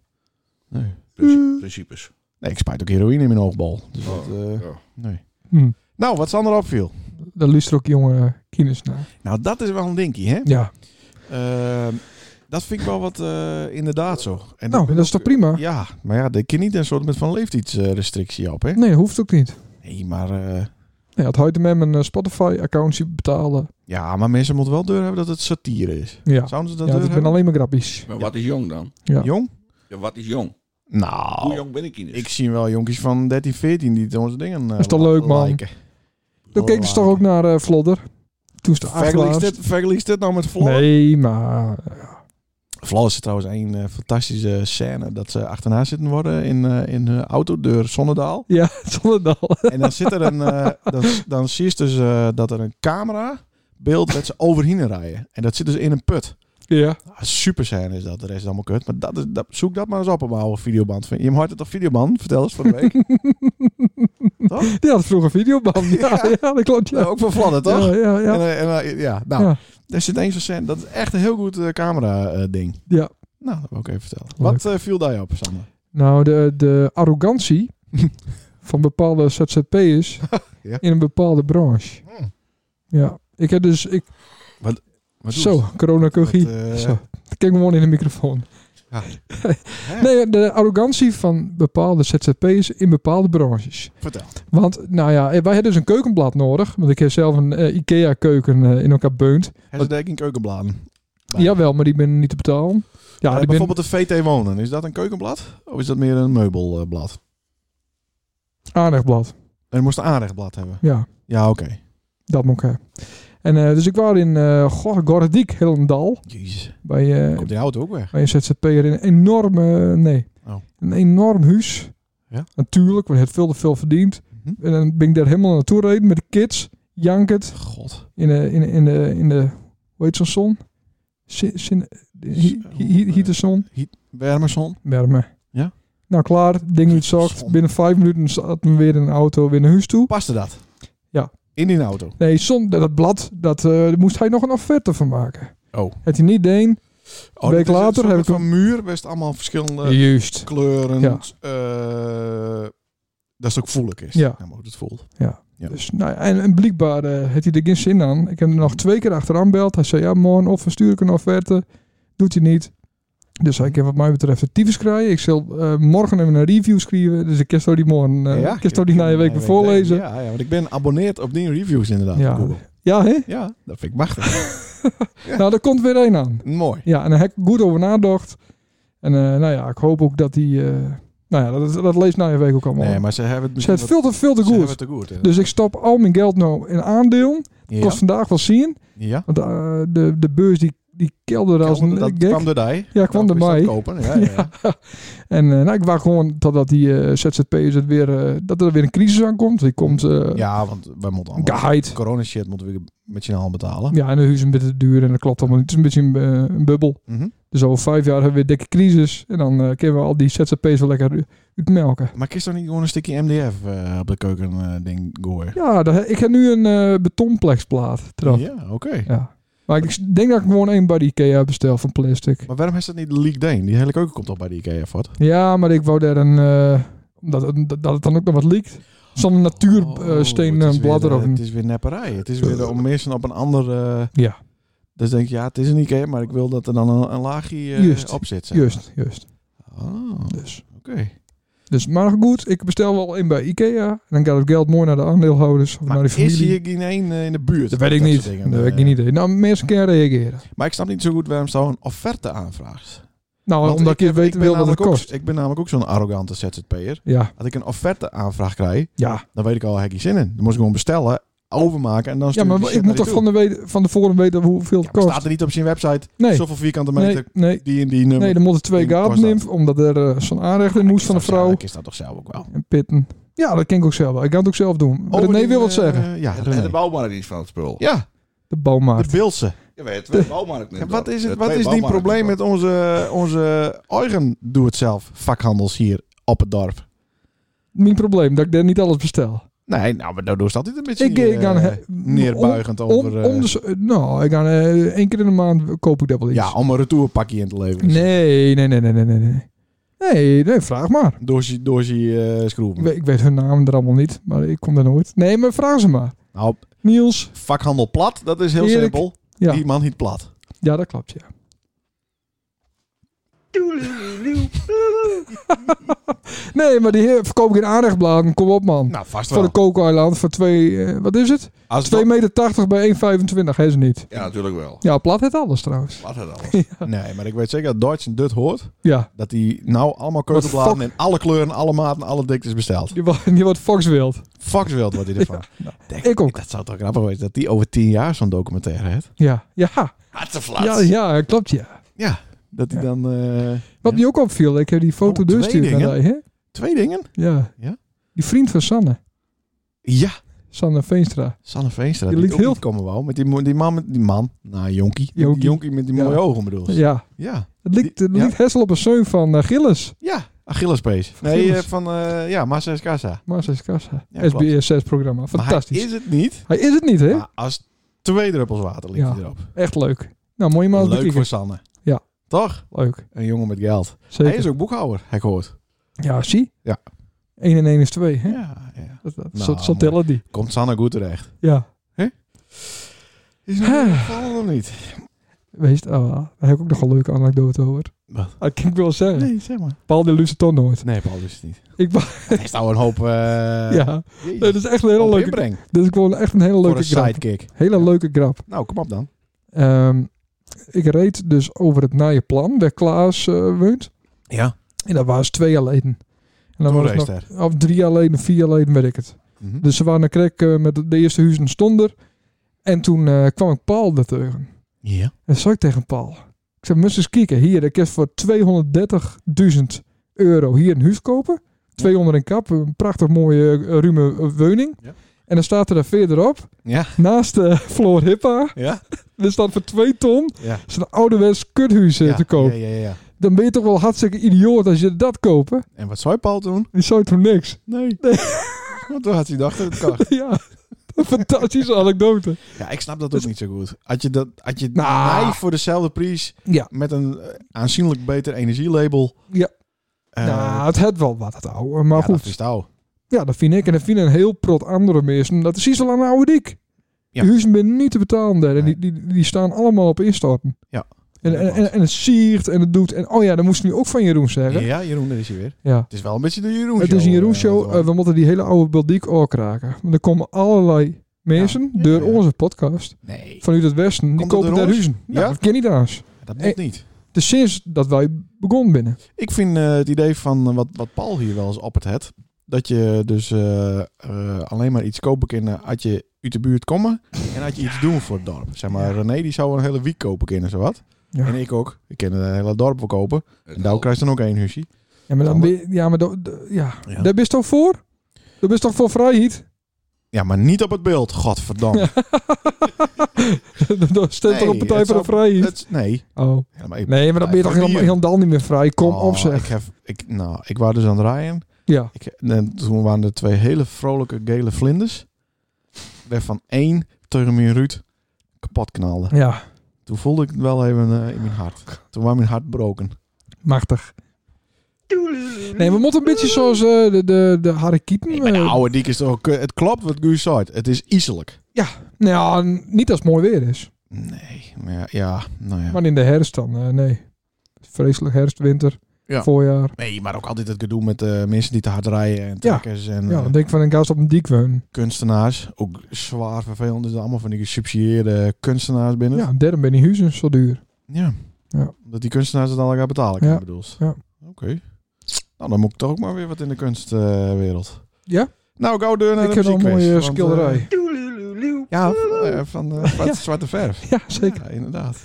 Nee. Princi- Principes. nee, ik spuit ook heroïne in mijn oogbal. Dus dat, eh, ja. nee. Hm. Nou, wat Sander opviel. Daar luisteren ook jonge kines naar. Nou, dat is wel een dinkie, hè? Ja, Ehm, dat vind ik wel wat eh, inderdaad zo. En ik nou, ben dat is toch ook- prima? Ja, maar ja, daar kun je niet een soort met van leeftijdsrestrictie op, hè? Nee, hoeft ook niet. Nee, maar... eh, Ja, het houdt met mijn Spotify-account betalen. ja, maar mensen moeten wel deur hebben dat het satire is. Ja, Zouden ze dat ja dus deur dat zijn hebben? alleen maar grappies. Maar wat is jong dan? Ja. Jong? Ja, wat is jong? Hoe Nou, jong ben ik in ik zie wel jonkies van 13, 14 die onze dingen eh, is toch la- leuk, man? liken. Dan Oh, keek ze toch ook naar eh Vlodder. Toen is de Vergelijk dit, achterlaatst. vergelijk dit nou met Vlodder? Nee, maar... eh, Vlodder is trouwens een eh, fantastische scène. Dat ze achterna zitten worden in, eh, in hun auto door Zonnedaal. [LAUGHS] Ja, [LAUGHS] zonder dal. En dan zit er een. eh, dan, dan zie je dus eh, dat er een camera beeld dat ze overheen rijden. En dat zit dus in een put. Ja. Super zijn is dat, de rest is allemaal kut. Maar dat is, dat, zoek dat maar eens op op een oude videoband. Je hoort het op videoband, vertel eens van de week. [LAUGHS] toch? Die had vroeger [LAUGHS] videoband. Ja, ja. dat klopt. Ja. Ja, ook van Vladder, Oh, toch? Ja, ja, ja. En, eh, en, eh, ja, nou, Ja. er zit één zo'n scène. Dat is echt een heel goed eh, camera-ding. Ja. nou, dat wil ik even vertellen. Leuk. Wat eh, viel daar je op, Sander? Nou, de, de [LAUGHS] arrogantie van bepaalde ZZP'ers Ja. in een bepaalde branche. Hmm. Ja. Ik heb dus... Ik, Wat doe zo, het? coronacugie. Wat, eh, Zo. Kijk me gewoon in de microfoon. Ja. [LAUGHS] nee, de arrogantie van bepaalde ZZP'ers in bepaalde branches. Vertel. Want, nou ja, wij hebben dus een keukenblad nodig. Want ik heb zelf een IKEA-keuken eh, in elkaar beunt. Hij zit eigenlijk in keukenbladen. Bij. Jawel, maar die ben niet te betalen. Ja, Eh, die ben- bijvoorbeeld de VT Wonen. Is dat een keukenblad? Of is dat meer een meubelblad? aardigblad. En moest een aanrechtblad hebben. Ja, Ja, oké. dat moet ik hebben. En eh, dus ik was in eh Go- Gordiek, Helendal, Jezus. bij, eh Komt die auto ook weg? bij een ZZP'er in een enorme, eh, nee, Oh. een enorm huis. Ja? Natuurlijk, want het veel te veel verdiend. Mhm. En dan ben ik daar helemaal naartoe gereden met de kids, jankend, God. in de, in de, in de, in de hoe heet zo'n zon? Zin, zin, eh, hi- hi- hi- de zon? Wermerson. Werme. Ja? Nou klaar, ding niet Zon. zocht. Binnen vijf minuten zat we weer in een auto weer naar huis toe. Paste dat? Ja. In die auto? Nee, zon, dat blad, dat, eh, daar moest hij nog een offerte van maken. Oh. Het hij niet deed. Oh, Week dat is later een soort heb ik van muur. Best allemaal verschillende Juist. kleuren. Ja. eh, dat is ook voelig is. Ja. maar hoe het voelt. Ja. Dus, nou, ja, en, en blijkbaar eh had hij er geen zin aan. Ik heb hem nog twee keer achteraan beld. Hij zei, ja morgen of verstuur ik een offerte. Doet hij niet. Dus hij kan wat mij betreft de tyfus krijgen. Ik zal eh, morgen even een review schrijven. Dus ik kan zo die morgen, eh, ik kan zo die na je week weer voorlezen. Ja, Ja, ja, want ik ben geabonneerd op die reviews inderdaad. Ja. op Google. hè? ja dat vind ik machtig. [LAUGHS] Nou, daar komt weer één aan. Mooi. Ja, en daar heb ik goed over nagedacht. En eh, nou ja, ik hoop ook dat hij... eh, nou ja, dat, dat leest na je week ook allemaal. Nee, maar ze hebben het Ze het misschien veel te, veel te wat- ze hebben goed. het te goed. hè. Dus ik stop al mijn geld nou in aandeel. ja. Kost vandaag wel zien. ja. Want eh, de, de beurs die, die kelderde als een dat gek. kwam door die. ja, kwam Dat door is dat mij. Kopen. Ja, ja. [LAUGHS] ja. En eh, nou, ik wacht gewoon totdat die eh, ZZP'ers het weer... eh, dat er weer een crisis aankomt. Die komt... eh Ja, want wij moeten allemaal... Geheid. Corona shit moeten we met je hand betalen. Ja, en de huis is een beetje te duur en dat klopt allemaal niet. Het is een beetje een, eh, een bubbel. Mhm. Dus over vijf jaar hebben we weer dikke crisis. En dan eh, kunnen we al die ZZP'ers wel lekker u- uitmelken. Maar kist dan niet gewoon een stukje MDF eh, op de keuken eh, ding gooien? Ja, daar- ik heb nu een eh betonplexplaat erop. Ja, oké. Ja. Maar ik denk dat ik gewoon één bij de Ikea bestel van plastic. Maar waarom is dat niet leak Deen? Die hele keuken komt toch bij de Ikea voort? Ja, maar ik wou daar een... eh, omdat het- dat, het dan ook nog wat liekt. Zo'n Oh, natuursteen het is en blad weer, eh, erop. Het is weer nepperij. Het is weer om mensen op een ander... eh, Eh, Ja. Dus denk je, ja, het is een Ikea, maar ik wil dat er dan een, een laagje eh, Juist. op zit. zeg maar. Juist, juist. Oh, oké. Dus. dus, maar goed, ik bestel wel één bij Ikea. En dan gaat het geld mooi naar de aandeelhouders of Maar naar die is familie. hier geen één eh, in de buurt? Dat weet ik soort niet. dingen. dat weet ik Eh, niet. Nou, mensen kunnen reageren. Maar ik snap niet zo goed waarom ze een offerte aanvraagt. Nou, Want omdat ik, heb- weet ben wil wat het namelijk ook- kost. ik ben namelijk ook zo'n arrogante ZZP'er. Ja, Als ik een offerte aanvraag krijg, ja. dan weet ik al, heb ik geen zin in. Dan moet ik gewoon bestellen, overmaken en dan ja stuur maar die shit ik naar moet die toch toe. van, de weten- van tevoren weten hoeveel Ja, het maar kost. staat er niet op zijn website Nee, zoveel vierkante meter nee, nee. die en die nummer. Nee, dan moeten twee Die gaten kost dat. nemen, omdat er eh, zo'n aanrechter moest van een vrouw. is dat toch zelf ook wel. En pitten. Ja, dat ken ik ook zelf wel. Ik kan het ook zelf doen. Maar René nee wil wat zeggen. eh, ja, En, René. en de bouwmarkt is van het spul. ja, De de bouwmarkt. Beeldse. Ja, wij hebben twee bouwmarkten in Ja, het wat dorp. is, het, Ja, wat twee is die bouwmarkten probleem in het met onze, onze eigen doe-het-zelf vakhandels hier op het dorp? Mijn probleem, dat ik daar niet alles bestel. Nee, nou, maar daardoor staat dit een beetje Ik, ik eh, ga he- neerbuigend om, over... eh, om de, s- nou, ik ga eh, één keer in de maand koop ik dat wel iets. ja, om een retourpakje in te leveren. nee, nee, nee, nee, nee, nee, nee. Nee, nee, vraag maar. Door ze door ze, eh Ik schroeven. weet, ik weet hun naam er allemaal niet, maar ik kom daar nooit. Nee, maar vraag ze maar. Nou, Niels. vakhandel plat, dat is heel Erik, simpel. ja. Die man niet plat. Ja, dat klopt, ja. nee, maar die heer, verkoop ik in aanrechtbladen. Kom op, man. Nou, vast voor de Kookeiland voor twee, eh, wat is het? 2,80 Als het op- meter bij 1,25, hè ze niet. dorp. Ja, natuurlijk wel. Ja, plat het alles trouwens. Wat het alles. Nee, maar ik weet zeker dat Duits en Dut hoort. Ja, Dat die nou allemaal keukenbladen fuck? in alle kleuren, alle maten, alle diktes bestelt. die, wa- [LAUGHS] die wordt Foxwild. Foxwild wordt hij ervan. Denk, ik [LAUGHS] ook. Dat zou toch grappig zijn dat die over tien jaar zo'n documentaire heeft. Ja, ja. Hartsenflat. Ja, ja, klopt, ja. Ja, dat die dan... eh, Wat Ja. me ook opviel, ik heb die foto Oh, twee doorstuurd naar dingen? die, hè? twee dingen? Ja. Ja? Die vriend van Sanne. Ja, Sanne Veenstra. Sanne Veenstra, Je die liet jonkie heel- komen wel. Met die, mo- die man, met die man. Nou, jonkie. Die Jonkie. jonkie met die mooie Ja. ogen bedoel je. Ja, Ja. het liet, het Ja. liet Hessel op een zeun van eh, Gilles. Ja, Achillespees. Van Nee, Gilles. eh, van, eh ja, Marcel Casa. Marcel Kassa. Ja, klopt. SBS6-programma. Fantastisch. Maar hij is het niet. Hij is het niet, hè? Maar als twee druppels water ligt Ja. hij erop. Echt leuk. Nou, mooie man. Leuk Leuk. voor Sanne. Ja. Toch? leuk. Een jongen met geld. Zeker. Hij is ook boekhouder, heb ik gehoord. Ja, zie. Ja. 1 en 1 is 2, hè? Ja, ja. Dat, dat, Nou, zo, zo tellen die. Komt Sanne goed terecht. Ja. Is nog niet gevallen of niet? Wees, ah, daar heb ik ook nog een leuke anekdote over. Wat? Dat kan ik wel zeggen. Nee, zeg maar. Paul de Luce toch nooit. Nee, Paul is het niet. Ik, wa- Hij is nou een hoop... eh [LAUGHS] ja, jezus, dat is echt een hele hoop leuke... inbreng Dit is gewoon echt een hele voor leuke een grap. sidekick. Hele Ja. leuke grap. Nou, kom op dan. Ehm, ik reed dus over het Nijenplan, waar Klaas eh, woont. Ja. En dat was twee jaar geleden. En Toen Mhm. was reed nog, of drie jaar geleden, vier jaar geleden, weet ik het. Dus ze waren een krek eh, met de eerste huizen stonden. En toen eh, kwam ik Paul er tegen. Ja. En dat zei ik tegen Paul. Ik zei, moest eens kijken. Hier, ik heb voor 230.000 euro hier een huis kopen. 200 in kap. Een prachtig mooie, eh, ruime eh, woning. Ja. En dan staat er daar verderop, Ja. naast eh Floor Hippa, Ja? er staat voor 2 ton Ja. zo'n ouderwets kuthuis eh, ja. te koop. Ja, ja, ja. Dan ben je toch wel hartstikke idioot als je dat koopt. hè? En wat zou Paul doen? Die zou toen niks. [LAUGHS] Nee. [LAUGHS] Want toen had hij dacht dat het kan. ja, [LAUGHS] een fantastische anekdote. Ja, ik snap dat ook niet zo goed. Had je dat, had je Dus- Nou. mij voor dezelfde prijs Ja. met een eh, aanzienlijk beter energielabel. Ja. eh, nou, het had wel wat, het oude. Maar ja, goed, dat is touw. Ja, dat vind ik. En dat vinden een heel prot andere mensen. Dat is iets al aan de oude dik. Ja. De huizen zijn niet te betalen daar. En Nee. die, die, die staan allemaal op instorten. Ja. En, en, en, en het siert en het doet. En oh ja, dat moest ik nu ook van Jeroen zeggen. Ja. Ja, Jeroen, daar is hij weer. Het is wel een beetje de Jeroen Het is een Jeroen show. eh, eh, we moeten die hele oude Beldiek ook raken. Want er komen allerlei mensen Ja. door Ja. onze podcast. nee, Vanuit het Westen. die Komt dat kopen door daar ons? huizen. Ja. Ja? Dat ken je niet anders. dat eh, moet niet. Het is sinds dat wij begonnen binnen. Ik vind eh, het idee van eh, wat, wat Paul hier wel eens op het het. Dat je dus eh, eh, alleen maar iets kopen kan als je uit de buurt komen. En had je iets doen voor het dorp. Zeg maar, René die zou een hele week kopen kunnen, zowat. Ja. En ik ook. Ik kan een hele dorp wel kopen. En daar Nou, krijg je dan ook één husje. Ja, maar, Zal dan ben je- ja, maar do- do- ja. Ja. daar ben je toch voor? Daar ben je toch voor vrijheid? Ja, maar niet op het beeld, godverdamme. [LAUGHS] Dan stemt Nee, toch een partij het voor zou- de vrijheid? Het- nee. Oh. Ja, maar ik- Nee, maar dan ben je toch Vrijheid helemaal hier. helemaal niet meer vrij. Kom Oh, op zeg. Ik, heb, ik, nou, ik was dus aan het rijden. Ja. Ik, en toen waren er twee hele vrolijke gele vlinders. Waarvan één tegen mijn Ruud kapot knalde. Ja, Toen voelde ik het wel even eh, in mijn hart. Toen was mijn hart gebroken. machtig. Nee, we moeten een beetje zoals eh, de, de, de Harry Keaton. Nee, maar de eh, oude dik is toch ook... eh, Het klopt wat Guus zei. Het is iselijk. nou, ja, niet als het mooi weer is. Nee, maar ja, ja, nou ja. Maar in de herfst dan, eh, nee. Vreselijk herfst, winter, Ja. voorjaar. Nee, maar ook altijd het gedoe met eh, mensen die te hard rijden en trekkers en Ja, eh, dan denk ik van een gast op een diek wonen. kunstenaars. Ook zwaar vervelend. Dus allemaal van die gesubsidieerde kunstenaars binnen. Ja, derde ben je huizen zo duur. Ja. Ja. Dat die kunstenaars het allemaal gaan betalen, ik Ja. bedoel. Ja. Oké. Nou, dan moet ik toch ook maar weer wat in de kunstwereld. Ja? Nou, gauw deur naar ik de heb nog een muziekquiz, mooie want, eh, schilderij. ja, van, eh, van eh, zwarte, zwarte verf. [LAUGHS] ja, [LAUGHS] zeker. Ja, [LAUGHS] inderdaad.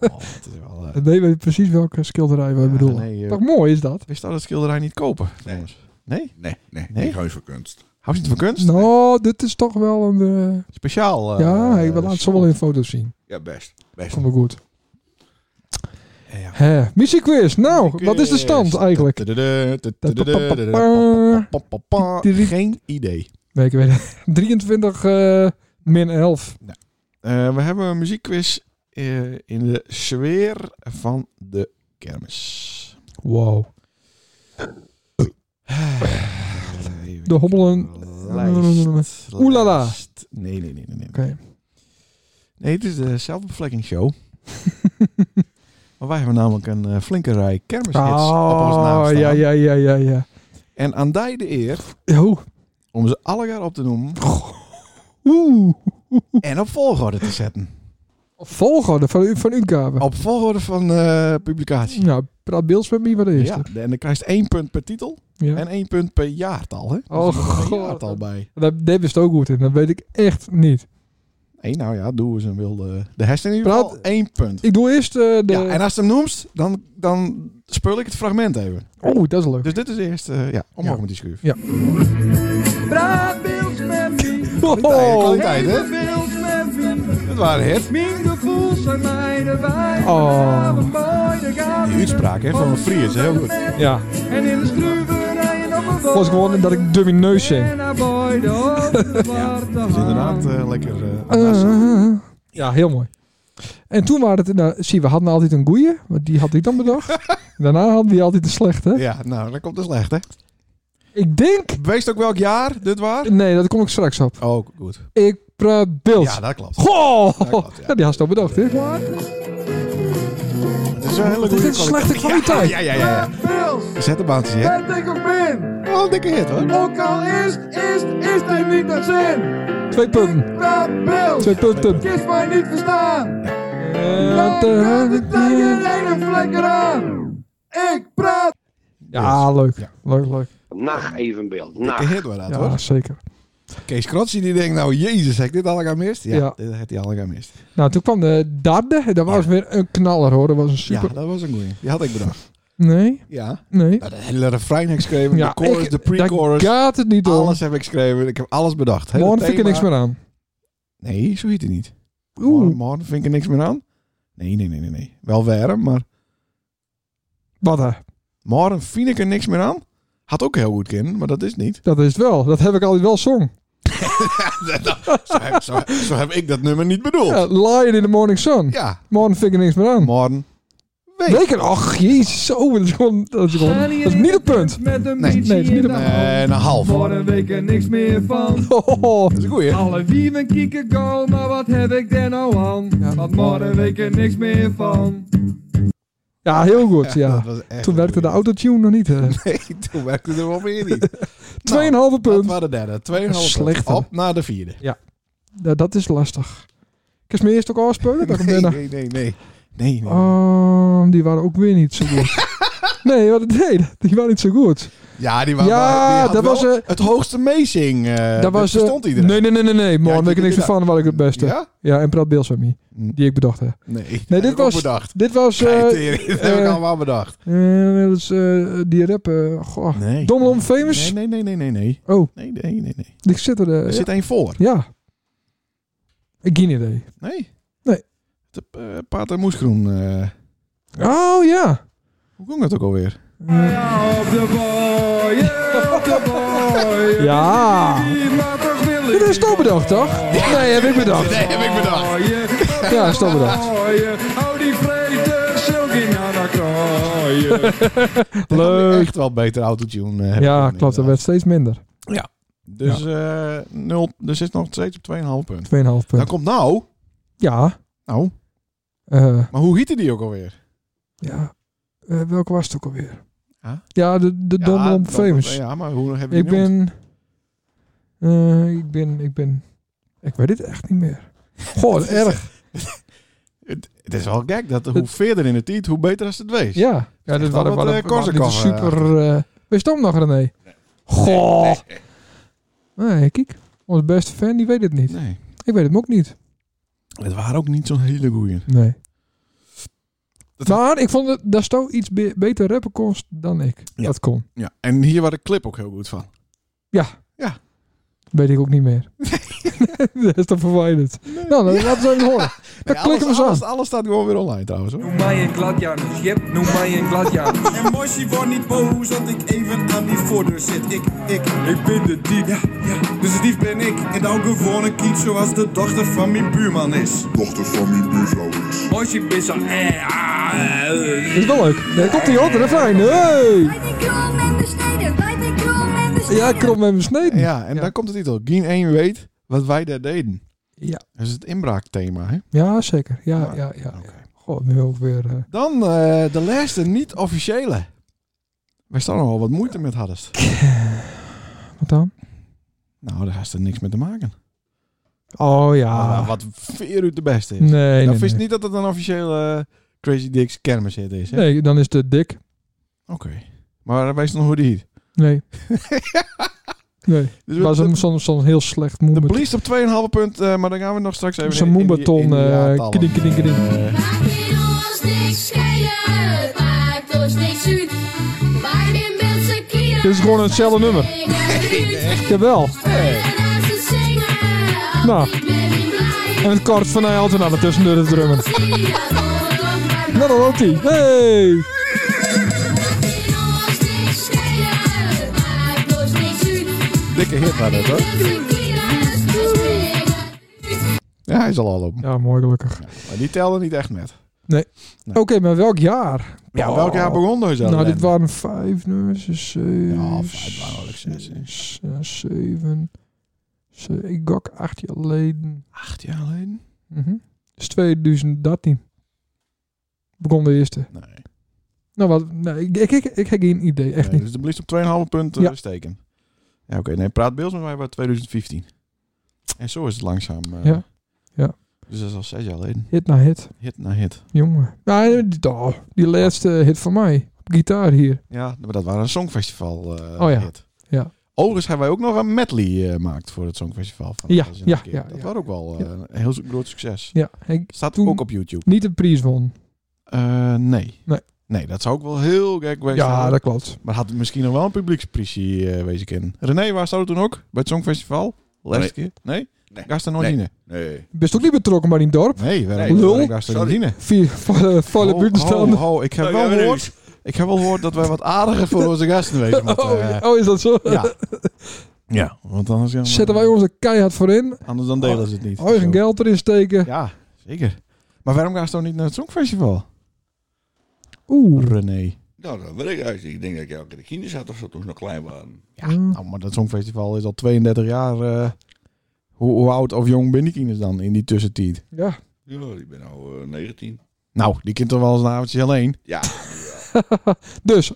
oh, het is wel... eh, Dan weten we precies welke schilderij we ja, bedoelen. Nee, eh, Toch mooi is dat? wist dat het schilderij niet kopen? Nee. jongens? Nee? Nee, nee, Nee? ik hou niet van kunst. Houdt je het van kunst? Nou, dit is toch wel een... eh, Speciaal. eh, ja, hey, we eh, laten ze wel in foto's zien. Ja, best. Best. Vond ik goed. Ja, ja. Hè, muziekquiz. Nou, wat eh, is de stand eigenlijk? Geen idee. Nee, ik weet het. [LAUGHS] 23 eh, min 11. Eh, we hebben een muziekquiz eh, in de sfeer van de kermis. Wow. Even De hobbelen. Lijst, Oelala. lijst. Nee, nee, nee, nee. Nee, Oké. nee het is de zelfbevlekkingsshow. [LAUGHS] maar wij hebben namelijk een eh, flinke rij kermishits op ons naam Oh, staan. Ah, ja, ja, ja, ja, ja. En aan die de eer Oh. om ze alle jaar op te noemen Oeh. en op volgorde te zetten. Volgorde van, u- van uitgave. Op volgorde van eh, publicatie. Nou, praat beelds met me wat de Ja, eerste. en dan krijg je één punt per titel Ja. en één punt per jaartal. Hè? Oh, Dus er zit God. Een jaartal bij. Dat, dat wist ook goed in. Dat weet ik echt niet. Hé, nou ja, doe eens een wilde. De hashtag in ieder Praat- geval één punt. Ik doe eerst eh, de... Ja, en als je hem noemt, dan, dan speel ik het fragment even. Oeh, Oh, dat is leuk. Dus dit is eerst, eh, ja, omhoog Ja. met die schuur. Ja. Praat Beels met me. Kwaliteit, [LAUGHS] Oh. kwaliteit, hè? Dat waren het. Oh, Die uitspraak, hè, van een Fries, is heel goed. ja. Was gewoon dat ik dummy neus zing. Ja, dat is inderdaad eh, lekker... eh, anders. Eh, ja, heel mooi. En toen waren het, nou, zie, we hadden altijd een goeie, want die had ik dan bedacht. Daarna hadden we altijd de slechte. ja, nou, dat komt dus slecht, hè? Ik denk, Wees ook welk jaar dit was? nee, dat kom ik straks op. Oh, goed. Ik praat beeld. Ja, dat klopt. Goh! Dat klopt, ja. Nou, [LAUGHS] die had ze al bedacht, hè? Dat is wel een hele Dit goede is slechte kwaliteit. Ja, ja, ja. ja, Zet de baantjes hè? Ben ik op in. Wel een dikke hit, hoor. Ook al is, is, is hij niet naar zin. Twee punten. Dat beeld. Twee punten. Eh, Kies mij niet verstaan. Ja, Dan gaat het tegen eh. een vlekker aan. Ik praat. Ja, leuk. Ja. Leuk, leuk. nacht evenbeeld, Dikke nacht. hit was dat, Ja, hoor. zeker. Kees Krotsi die denkt, nou, jezus, heb ik dit allemaal mist? Ja, Ja. dit heeft hij allemaal mist. Nou, toen kwam de derde. en Dat was weer een knaller, hoor. Dat was een super... Ja, dat was een goeie. Die had ik bedacht. Nee, Ja. nee. Nou, de hele refrein heb ik geschreven, de chorus, ik- de Daar pre-chorus. gaat het niet om. Alles heb ik geschreven. Ik heb alles bedacht. Hele Morgen vind ik er thema. niks meer aan. Nee, zo heet hij niet. Oeh. Morgen, morgen vind ik er niks meer aan. Nee, nee, nee, nee. nee. Wel warm, maar Wat hè? morgen vind ik er niks meer aan. Had ook heel goed kunnen, maar dat is niet. Dat is het wel. Dat heb ik altijd wel song. [LAUGHS] Nou, zo, heb, zo, zo heb ik dat nummer niet bedoeld. Ja, Ja. Lion in the Morning Sun. Morgen vind ik er niks meer aan. Morgen. Week. Weken. Ach, jezus. Oh, dat is gewoon... Dat is, gewoon, dat is niet het punt. Met een Nee. biertje Nee, het is niet in een- de hand. En een half. Dat Voor een week er niks meer van. Oh, is een goeie. Alle wieven kieken go, maar wat heb ik daar nou aan? Want morgen weet ik er niks meer van. Ja, heel goed. Ja. Dat was echt Nou. Toen een werkte de goeie. autotune nog [LAUGHS] niet. hè. Nee, toen werkte er wel meer niet. Tweeënhalve Dat punt. waren de derde. Tweeënhalve Slechte. punt. Op naar de vierde. Ja, dat is lastig. Ik is me eerst ook afspelen. Dat ik hem Nee, daarna- nee, nee. Nee, nee. nee. Oh, die waren ook weer niet zo goed. [LAUGHS] nee, wat het deed. Die waren niet zo goed. Ja, die, wa- Ja, wa- die had dat wel was, eh, het hoogste meezing. eh dat was. eh, stond iedereen. nee, nee, nee, nee, nee. Man, die weet ik doe niks je meer van. Waar ik het beste. Ja, Ja? Hm. en praat Beels met me. Die ik bedacht heb. Nee, die Nee, heb ik dit ook was. bedacht. Dit was. eh, [LAUGHS] Nee, tering, dat heb ik eh, allemaal bedacht. eh, dat is, eh, die rap. eh, goh. Nee. Domlom Famous. Nee, nee, nee, nee, nee, nee. Oh. Nee, nee, nee, nee. Ik zit er. eh, Er zit één voor. Ja. Ik geen idee. Nee? Nee. De eh, paard en moesgroen. eh, Oh ja. hoe ging dat ook alweer? Ja, op de boy, ja, op de boy. Ja. Die maar toch wil ik Dit is toch bedacht, toch? Nee, heb ik bedacht. Nee, heb ik bedacht. krooien. Ja, is toch bedacht. Krooien. Hou Oh, die vrede, Silky naar de krooien. Had ik Leuk. Echt wel beter autotune. eh, Ja, hebben klopt. Dat inderdaad. werd steeds minder. 2,5 Dus, eh nul, dus is nog steeds op 2,5 punt. Dan punt. komt nou... Ja. Nou, eh, maar hoe heette die ook alweer? ja. Eh, welke was het ook alweer? Huh? Ja, de, de Dom Dom dan- Famous. eh, Ja, maar hoe hebben we ik ben... eh, ik ben... Ik ben... Ik weet het echt niet meer. [LAUGHS] Goh, wat Oh, erg. Het, het is wel gek dat hoe verder in de tijd, hoe beter als het wees. Ja. Ja, dit echt wel waren wat, wel eh, Korsakoff, eh. super... eh wist je hem nog, René? Goh. Nee, kijk. Ons beste fan, die weet het niet. Nee. Ik weet hem ook niet. Het waren ook niet zo'n hele goeie. Nee. Dat- maar ik vond dat daar Sto iets be- beter rappen konst dan ik. Ja. Dat kon. Ja, en hier was de clip ook heel goed van. Weet ik ook niet meer. [LAUGHS] dat is toch verwijderd. Nou, dan laten we het even horen. Dan Nee, klikken we alles, zo. aan. alles, alles staat gewoon weer online trouwens. Hoor. Noem mij een gladjanus, jep, noem mij een gladjanus. [LAUGHS] En Moshi wordt niet boos dat ik even aan die voordeur zit. Ik, ik, ik ben de dief. Ja, ja, dus de dief ben ik. En dan gewoon een kind zoals de dochter van mijn buurman is. dochter van mijn buurvrouw is. Moshi pissa, eh, ah, eh. Dit is wel leuk. Nee, komt hij hoor. Refrein. Hey! Bij de krom en de snede, bij de krom en de snede. Ja, krom met mijn sneden. Ja, en dan komt de titel. Geen één weet wat wij daar deden. Ja. Dat is het inbraakthema. Hè? Ja, zeker. Ja, ja, ja. ja. Oké. Goh, nu ook weer... eh, Dan eh, de laatste niet-officiële. Wij staan nogal wat moeite met hadden. wat dan? Nou, daar heeft er niks mee te maken. Oh ja. Maar Ah, wat veer u de beste is. Nee, nee, nou, wist nee. niet dat het een officiële eh, Crazy Dicks kermis is. Hè? Nee, dan is het dik. Oké. Maar wees nog hoe die heet. [LAUGHS] Nee. nee. Dus we- Was de- hem soms soms heel slecht moe. de met- blies op 2,5 punt, eh, maar dan gaan we nog straks even Zo'n in- in die- in moembaton. die eh jaartallen. kiding, kiding, kiding. Maakt ons niks schelen, het maakt ons niks uit. Wij zijn mensen kieren. Dit is gewoon hetzelfde nummer. Zingen, Jawel. zingen, zingen. Nou, en [LAUGHS] het kort van hij altijd aan tussendoor de drummen. Nou, dan loopt hij. Hey! Dikke hit naar dat, Nou, hoor. Ja, hij is al al op. Ja, mooi gelukkig. Maar die telde niet echt met. Oké, maar welk jaar? Ja, Oh. welk jaar begon deze Nou, dit ellende? waren vijf nummers. Dus zeven, Ja, vijf waren wel succes, hè. zes, ja, zeven. Ze- Ik gok acht jaar geleden. Acht jaar geleden? Mhm. Dus 2013. Begon de eerste. Nee. Nou, wat, nee, ik, ik, ik, ik heb geen idee, echt Nee, niet. Dus de blieft op 2,5 punt eh, Ja. steken. Ja, oké. Nee, praat Beels met mij bij 2015. En zo is het langzaam. eh, Ja. Ja. Dus dat is al zes jaar geleden. Hit na hit, Hit na hit. jongen. Nou, die, oh, die laatste hit van mij. Gitaar hier. Ja, maar dat waren een songfestival eh, Oh ja. hit. Ja. Overigens hebben wij ook nog een medley eh, gemaakt voor het songfestival. Van Ja, Dat is ja, een keer. ja, Dat ja. was ook wel eh, Ja. een heel groot succes. Ja, ik Staat Toen- ook op YouTube. niet de prijs won. Eh, nee. Nee. Nee, dat zou ook wel heel gek geweest Ja, zijn. dat klopt. Maar had misschien nog wel een publieksprijsje eh wezen kennen. René, waar stond het toen ook? Bij het Songfestival? Laatste keer? Nee? Nee. Gast er nooit Nee. in? Nee. Best ook niet betrokken bij die dorp. Nee, waarom Nee, lul. lul. Gast er Sorry. niet in? Vier volle, volle Ho, buitenstaanden. ho, ho, ik heb Nou, wel ja, René. gehoord... Ik heb wel gehoord dat wij wat aardiger voor onze gasten wezen moeten. [LAUGHS] Oh, eh, oh, is dat zo? ja. ja, want anders, ja, Zetten wij Oh, onze keihard voor in. anders dan delen ze het niet. Eigen Zo. geld erin steken. Ja, zeker. Maar waarom gaan ze dan niet naar het Songfestival? Oeh. René. Nou, dat weet ik eigenlijk. niet. Ik denk dat ik elke keer de kinderen zat of zo toen ze nog klein waren. Ja. Nou, maar dat Songfestival is al 32 jaar... eh, hoe, hoe oud of jong ben die kinders dan in die tussentijd? ja. Ja, die ben nou eh, 19. Nou, die kind toch wel eens een avondje alleen. Ja. Dus,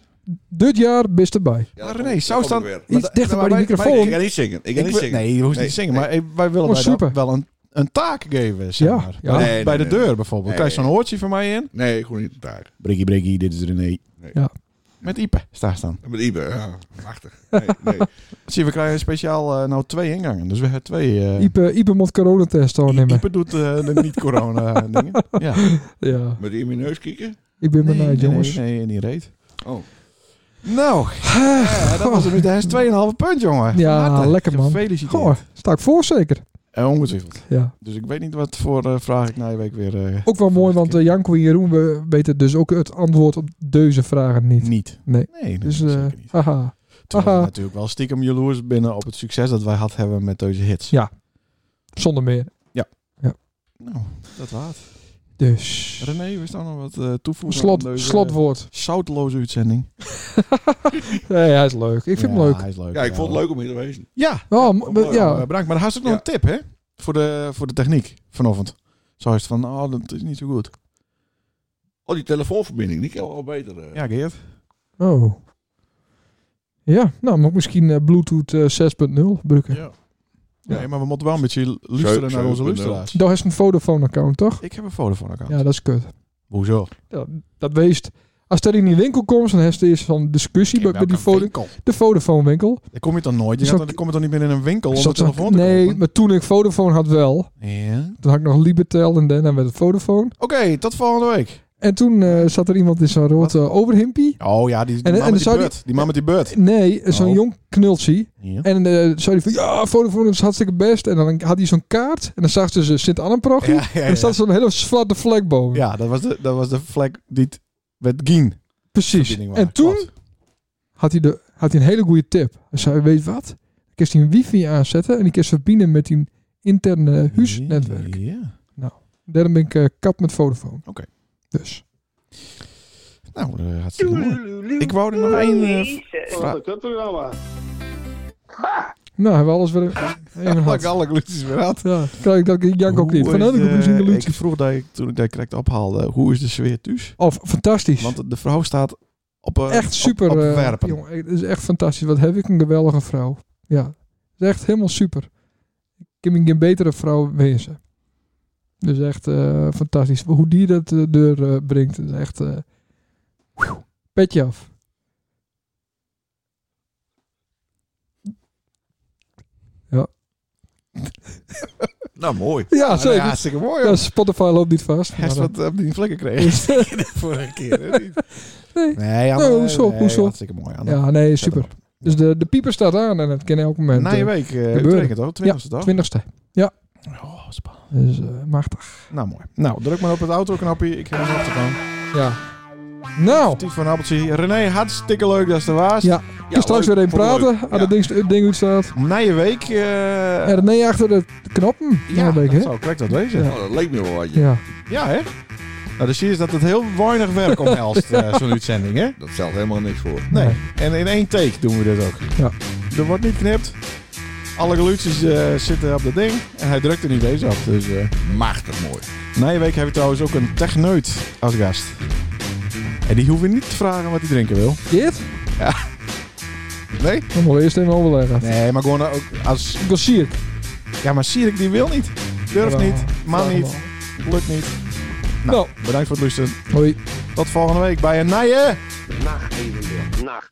dit jaar best erbij. ja Maar dat René, komt- zou dat komt staan- weer. Iets dichter bij die Ik microfoon. ga niet zingen. Ik ga Ik niet wil- zingen. Nee, je hoeft niet te Nee, zingen. Maar eh, wij willen Oh, bij dat super. wel een, een taak geven, zeg Ja, maar. ja. Bij- Nee, nee, bij de nee, deur nee. bijvoorbeeld. Nee, Krijg je zo'n nee. hoortje van mij in? Nee, gewoon niet daar. Briggie, briggie, dit is E. René. Ja. Met Ipe, staat staan. Met Ibe, Oh, ja. Machtig. Nee, nee. Zie, je, we krijgen speciaal eh, nou twee ingangen. Dus we hebben twee... eh Ipe, Ipe moet coronatest nemen. Ipe doet eh, de [LAUGHS] niet-corona dingen. Ja. Ja, Met die in mijn neus kieken? ik ben benieuwd, nee, jongens. Nee, nee, niet reed. Oh. [LAUGHS] Nou, ja, dat was het. Dat is 2,5 punt, jongen. Ja, Van harte. lekker, man. Gefeliciteerd. Goh, sta ik voor zeker. Eh, ongetwijfeld. Ja. Dus ik weet niet wat voor eh, vraag ik na je week weer... eh, Ook wel mooi, want eh, Janko en Jeroen we- weten dus ook het antwoord op deze vragen niet. niet. Nee. Nee, dat Dus, is eh zeker niet. haha. Terwijl we Aha. natuurlijk wel stiekem jaloers binnen op het succes dat wij had hebben met deze hits. Ja. Zonder meer. Nou, dat waard. Dus. René, we staan nog wat eh toevoegen Slot, aan deze eh, slotwoord. zoutloze uitzending. Nee, hij is leuk. Ik vind Ja, hem leuk. Hij is leuk. Ja, ik vond het leuk om hier te wezen. Ja, Oh, m- leuk. ja. ja. bedankt. Maar daar had ook nog Ja. een tip, hè? Voor de, voor de techniek vanochtend. Zo is het van, oh, dat is niet zo goed. Oh, die telefoonverbinding, die kan wel beter. eh. Ja, Geert. Oh. Ja, nou, maar misschien eh, Bluetooth eh, 6.0 gebruiken. Ja. Nee, maar we moeten wel een beetje luisteren Zo- naar onze 7.0. luisteraars. Dat is een Vodafone-account, toch? Ik heb een Vodafone-account. Ja, dat is kut. Hoezo? Dat, dat weest. Als er in die winkel komt, dan heeft er eerst zo'n discussie bij, bij die Voda- nou, winkel. de Vodafone-winkel. Dan kom je dan nooit. Je Zo- gaat dan, dan kom je dan niet meer in een winkel om Zo'n- een telefoon te nee, kopen. maar toen ik Vodafone had wel. Ja. Toen had ik nog Libertel en daarna werd het Vodafone. Oké, tot volgende week. En toen eh, zat er iemand in zo'n rood eh, overhimpie. Oh ja, die, die En- man en met die zou beurt. Die, man met die beurt. Nee, zo'n Oh. jong knultje. Ja. En dan zei hij van, ja, Vodafone is hartstikke best. En dan had hij zo'n kaart. En dan zag ze ze Sint-Annenprochtje. Ja, ja, En er staat zo'n hele zwarte vlek boven. Ja, dat was de, dat was de vlag die het met Gien. Precies. verbinding En was. toen Klopt. had hij, de, had hij een hele goede tip. Hij zei, weet je wat? Ik kan die wifi aanzetten en ik kan verbinden met die interne huisnetwerk. Ja. Daarom ben ik eh, kap met Vodafone. Oké. Dus. Nou, eh, hartstikke mooi. Ik wou er nog één eh, vraag. Nou, hebben we alles [LAUGHS] weer even Had ik gehad. alle glutjes weer had. Ja, kijk dat ik Jank ook niet. Hoe Van is heb ik de- een gezien Ik vroeg dat ik, toen ik dat correct ophaalde, hoe is de sfeer thuis? Of fantastisch. Want de vrouw staat op een echt super. op, op eh, werpen. jongen, het is echt fantastisch. Wat heb ik een geweldige vrouw. Ja. Het is echt helemaal super. Ik heb me geen betere vrouw wensen. Dus echt eh, fantastisch. Hoe die dat de deur eh, brengt. is echt. eh, whew, petje af. Nou, mooi. Ja, Ah, nou ja, zeker. hartstikke mooi. dus- Ja, hoor. Spotify loopt niet vast. Hij is maar, eh, wat op die vlekken [LAUGHS] kreeg. [LAUGHS] Vorige keer. hè, niet? Nee. Nee, Anne, Nee, hoezo, nee, hoezo? Hartstikke mooi. Anne. ja, nee, Zet super. hem op. Dus de, de pieper staat aan en dat kan elk moment. Na je eh, week, eh gebeuren. Utrecht, toch? 20e, dag. Twintigste. Ja, Oh, spannend. Dus eh, machtig. Nou, mooi. Nou, druk maar op het auto-knopje. Ik heb hem op te gaan. Ja. Nou, Tief van Appeltje. René, hartstikke leuk dat je er was. Ja. je straks weer leuk. even Vond ik praten. leuk. Aan Ja. dat ding, het ding uitstaat. Na je week. eh, En René achter de knoppen. ja, een dat beetje, hè? zou correct dat wezen. Nou, dat leek me wel wat. je. Ja. Ja, hè? Nou, dus zie je dat het heel weinig werk [LAUGHS] omhelst, eh, zo'n uitzending, hè? Dat stelt helemaal niks voor. Nee. En in één take doen we dit ook. Ja. Er wordt niet geknipt. Alle geluidjes eh, zitten op dat ding. En hij drukt er niet eens af. Dus eh Machtig mooi. na je week hebben we trouwens ook een techneut als gast. En die hoeven niet te vragen wat hij drinken wil. Dit? Nee? Dan moeten we eerst even overleggen. Nee, maar gewoon ook als... Ik was Sierk. Ja, maar Sierik die wil niet. Durft Jawel, niet. Mag vraag niet. hem Lukt niet. Nou. Bedankt voor het luisteren. Hoi. Tot volgende week bij een nije. Nacht evenbeeld. Nacht.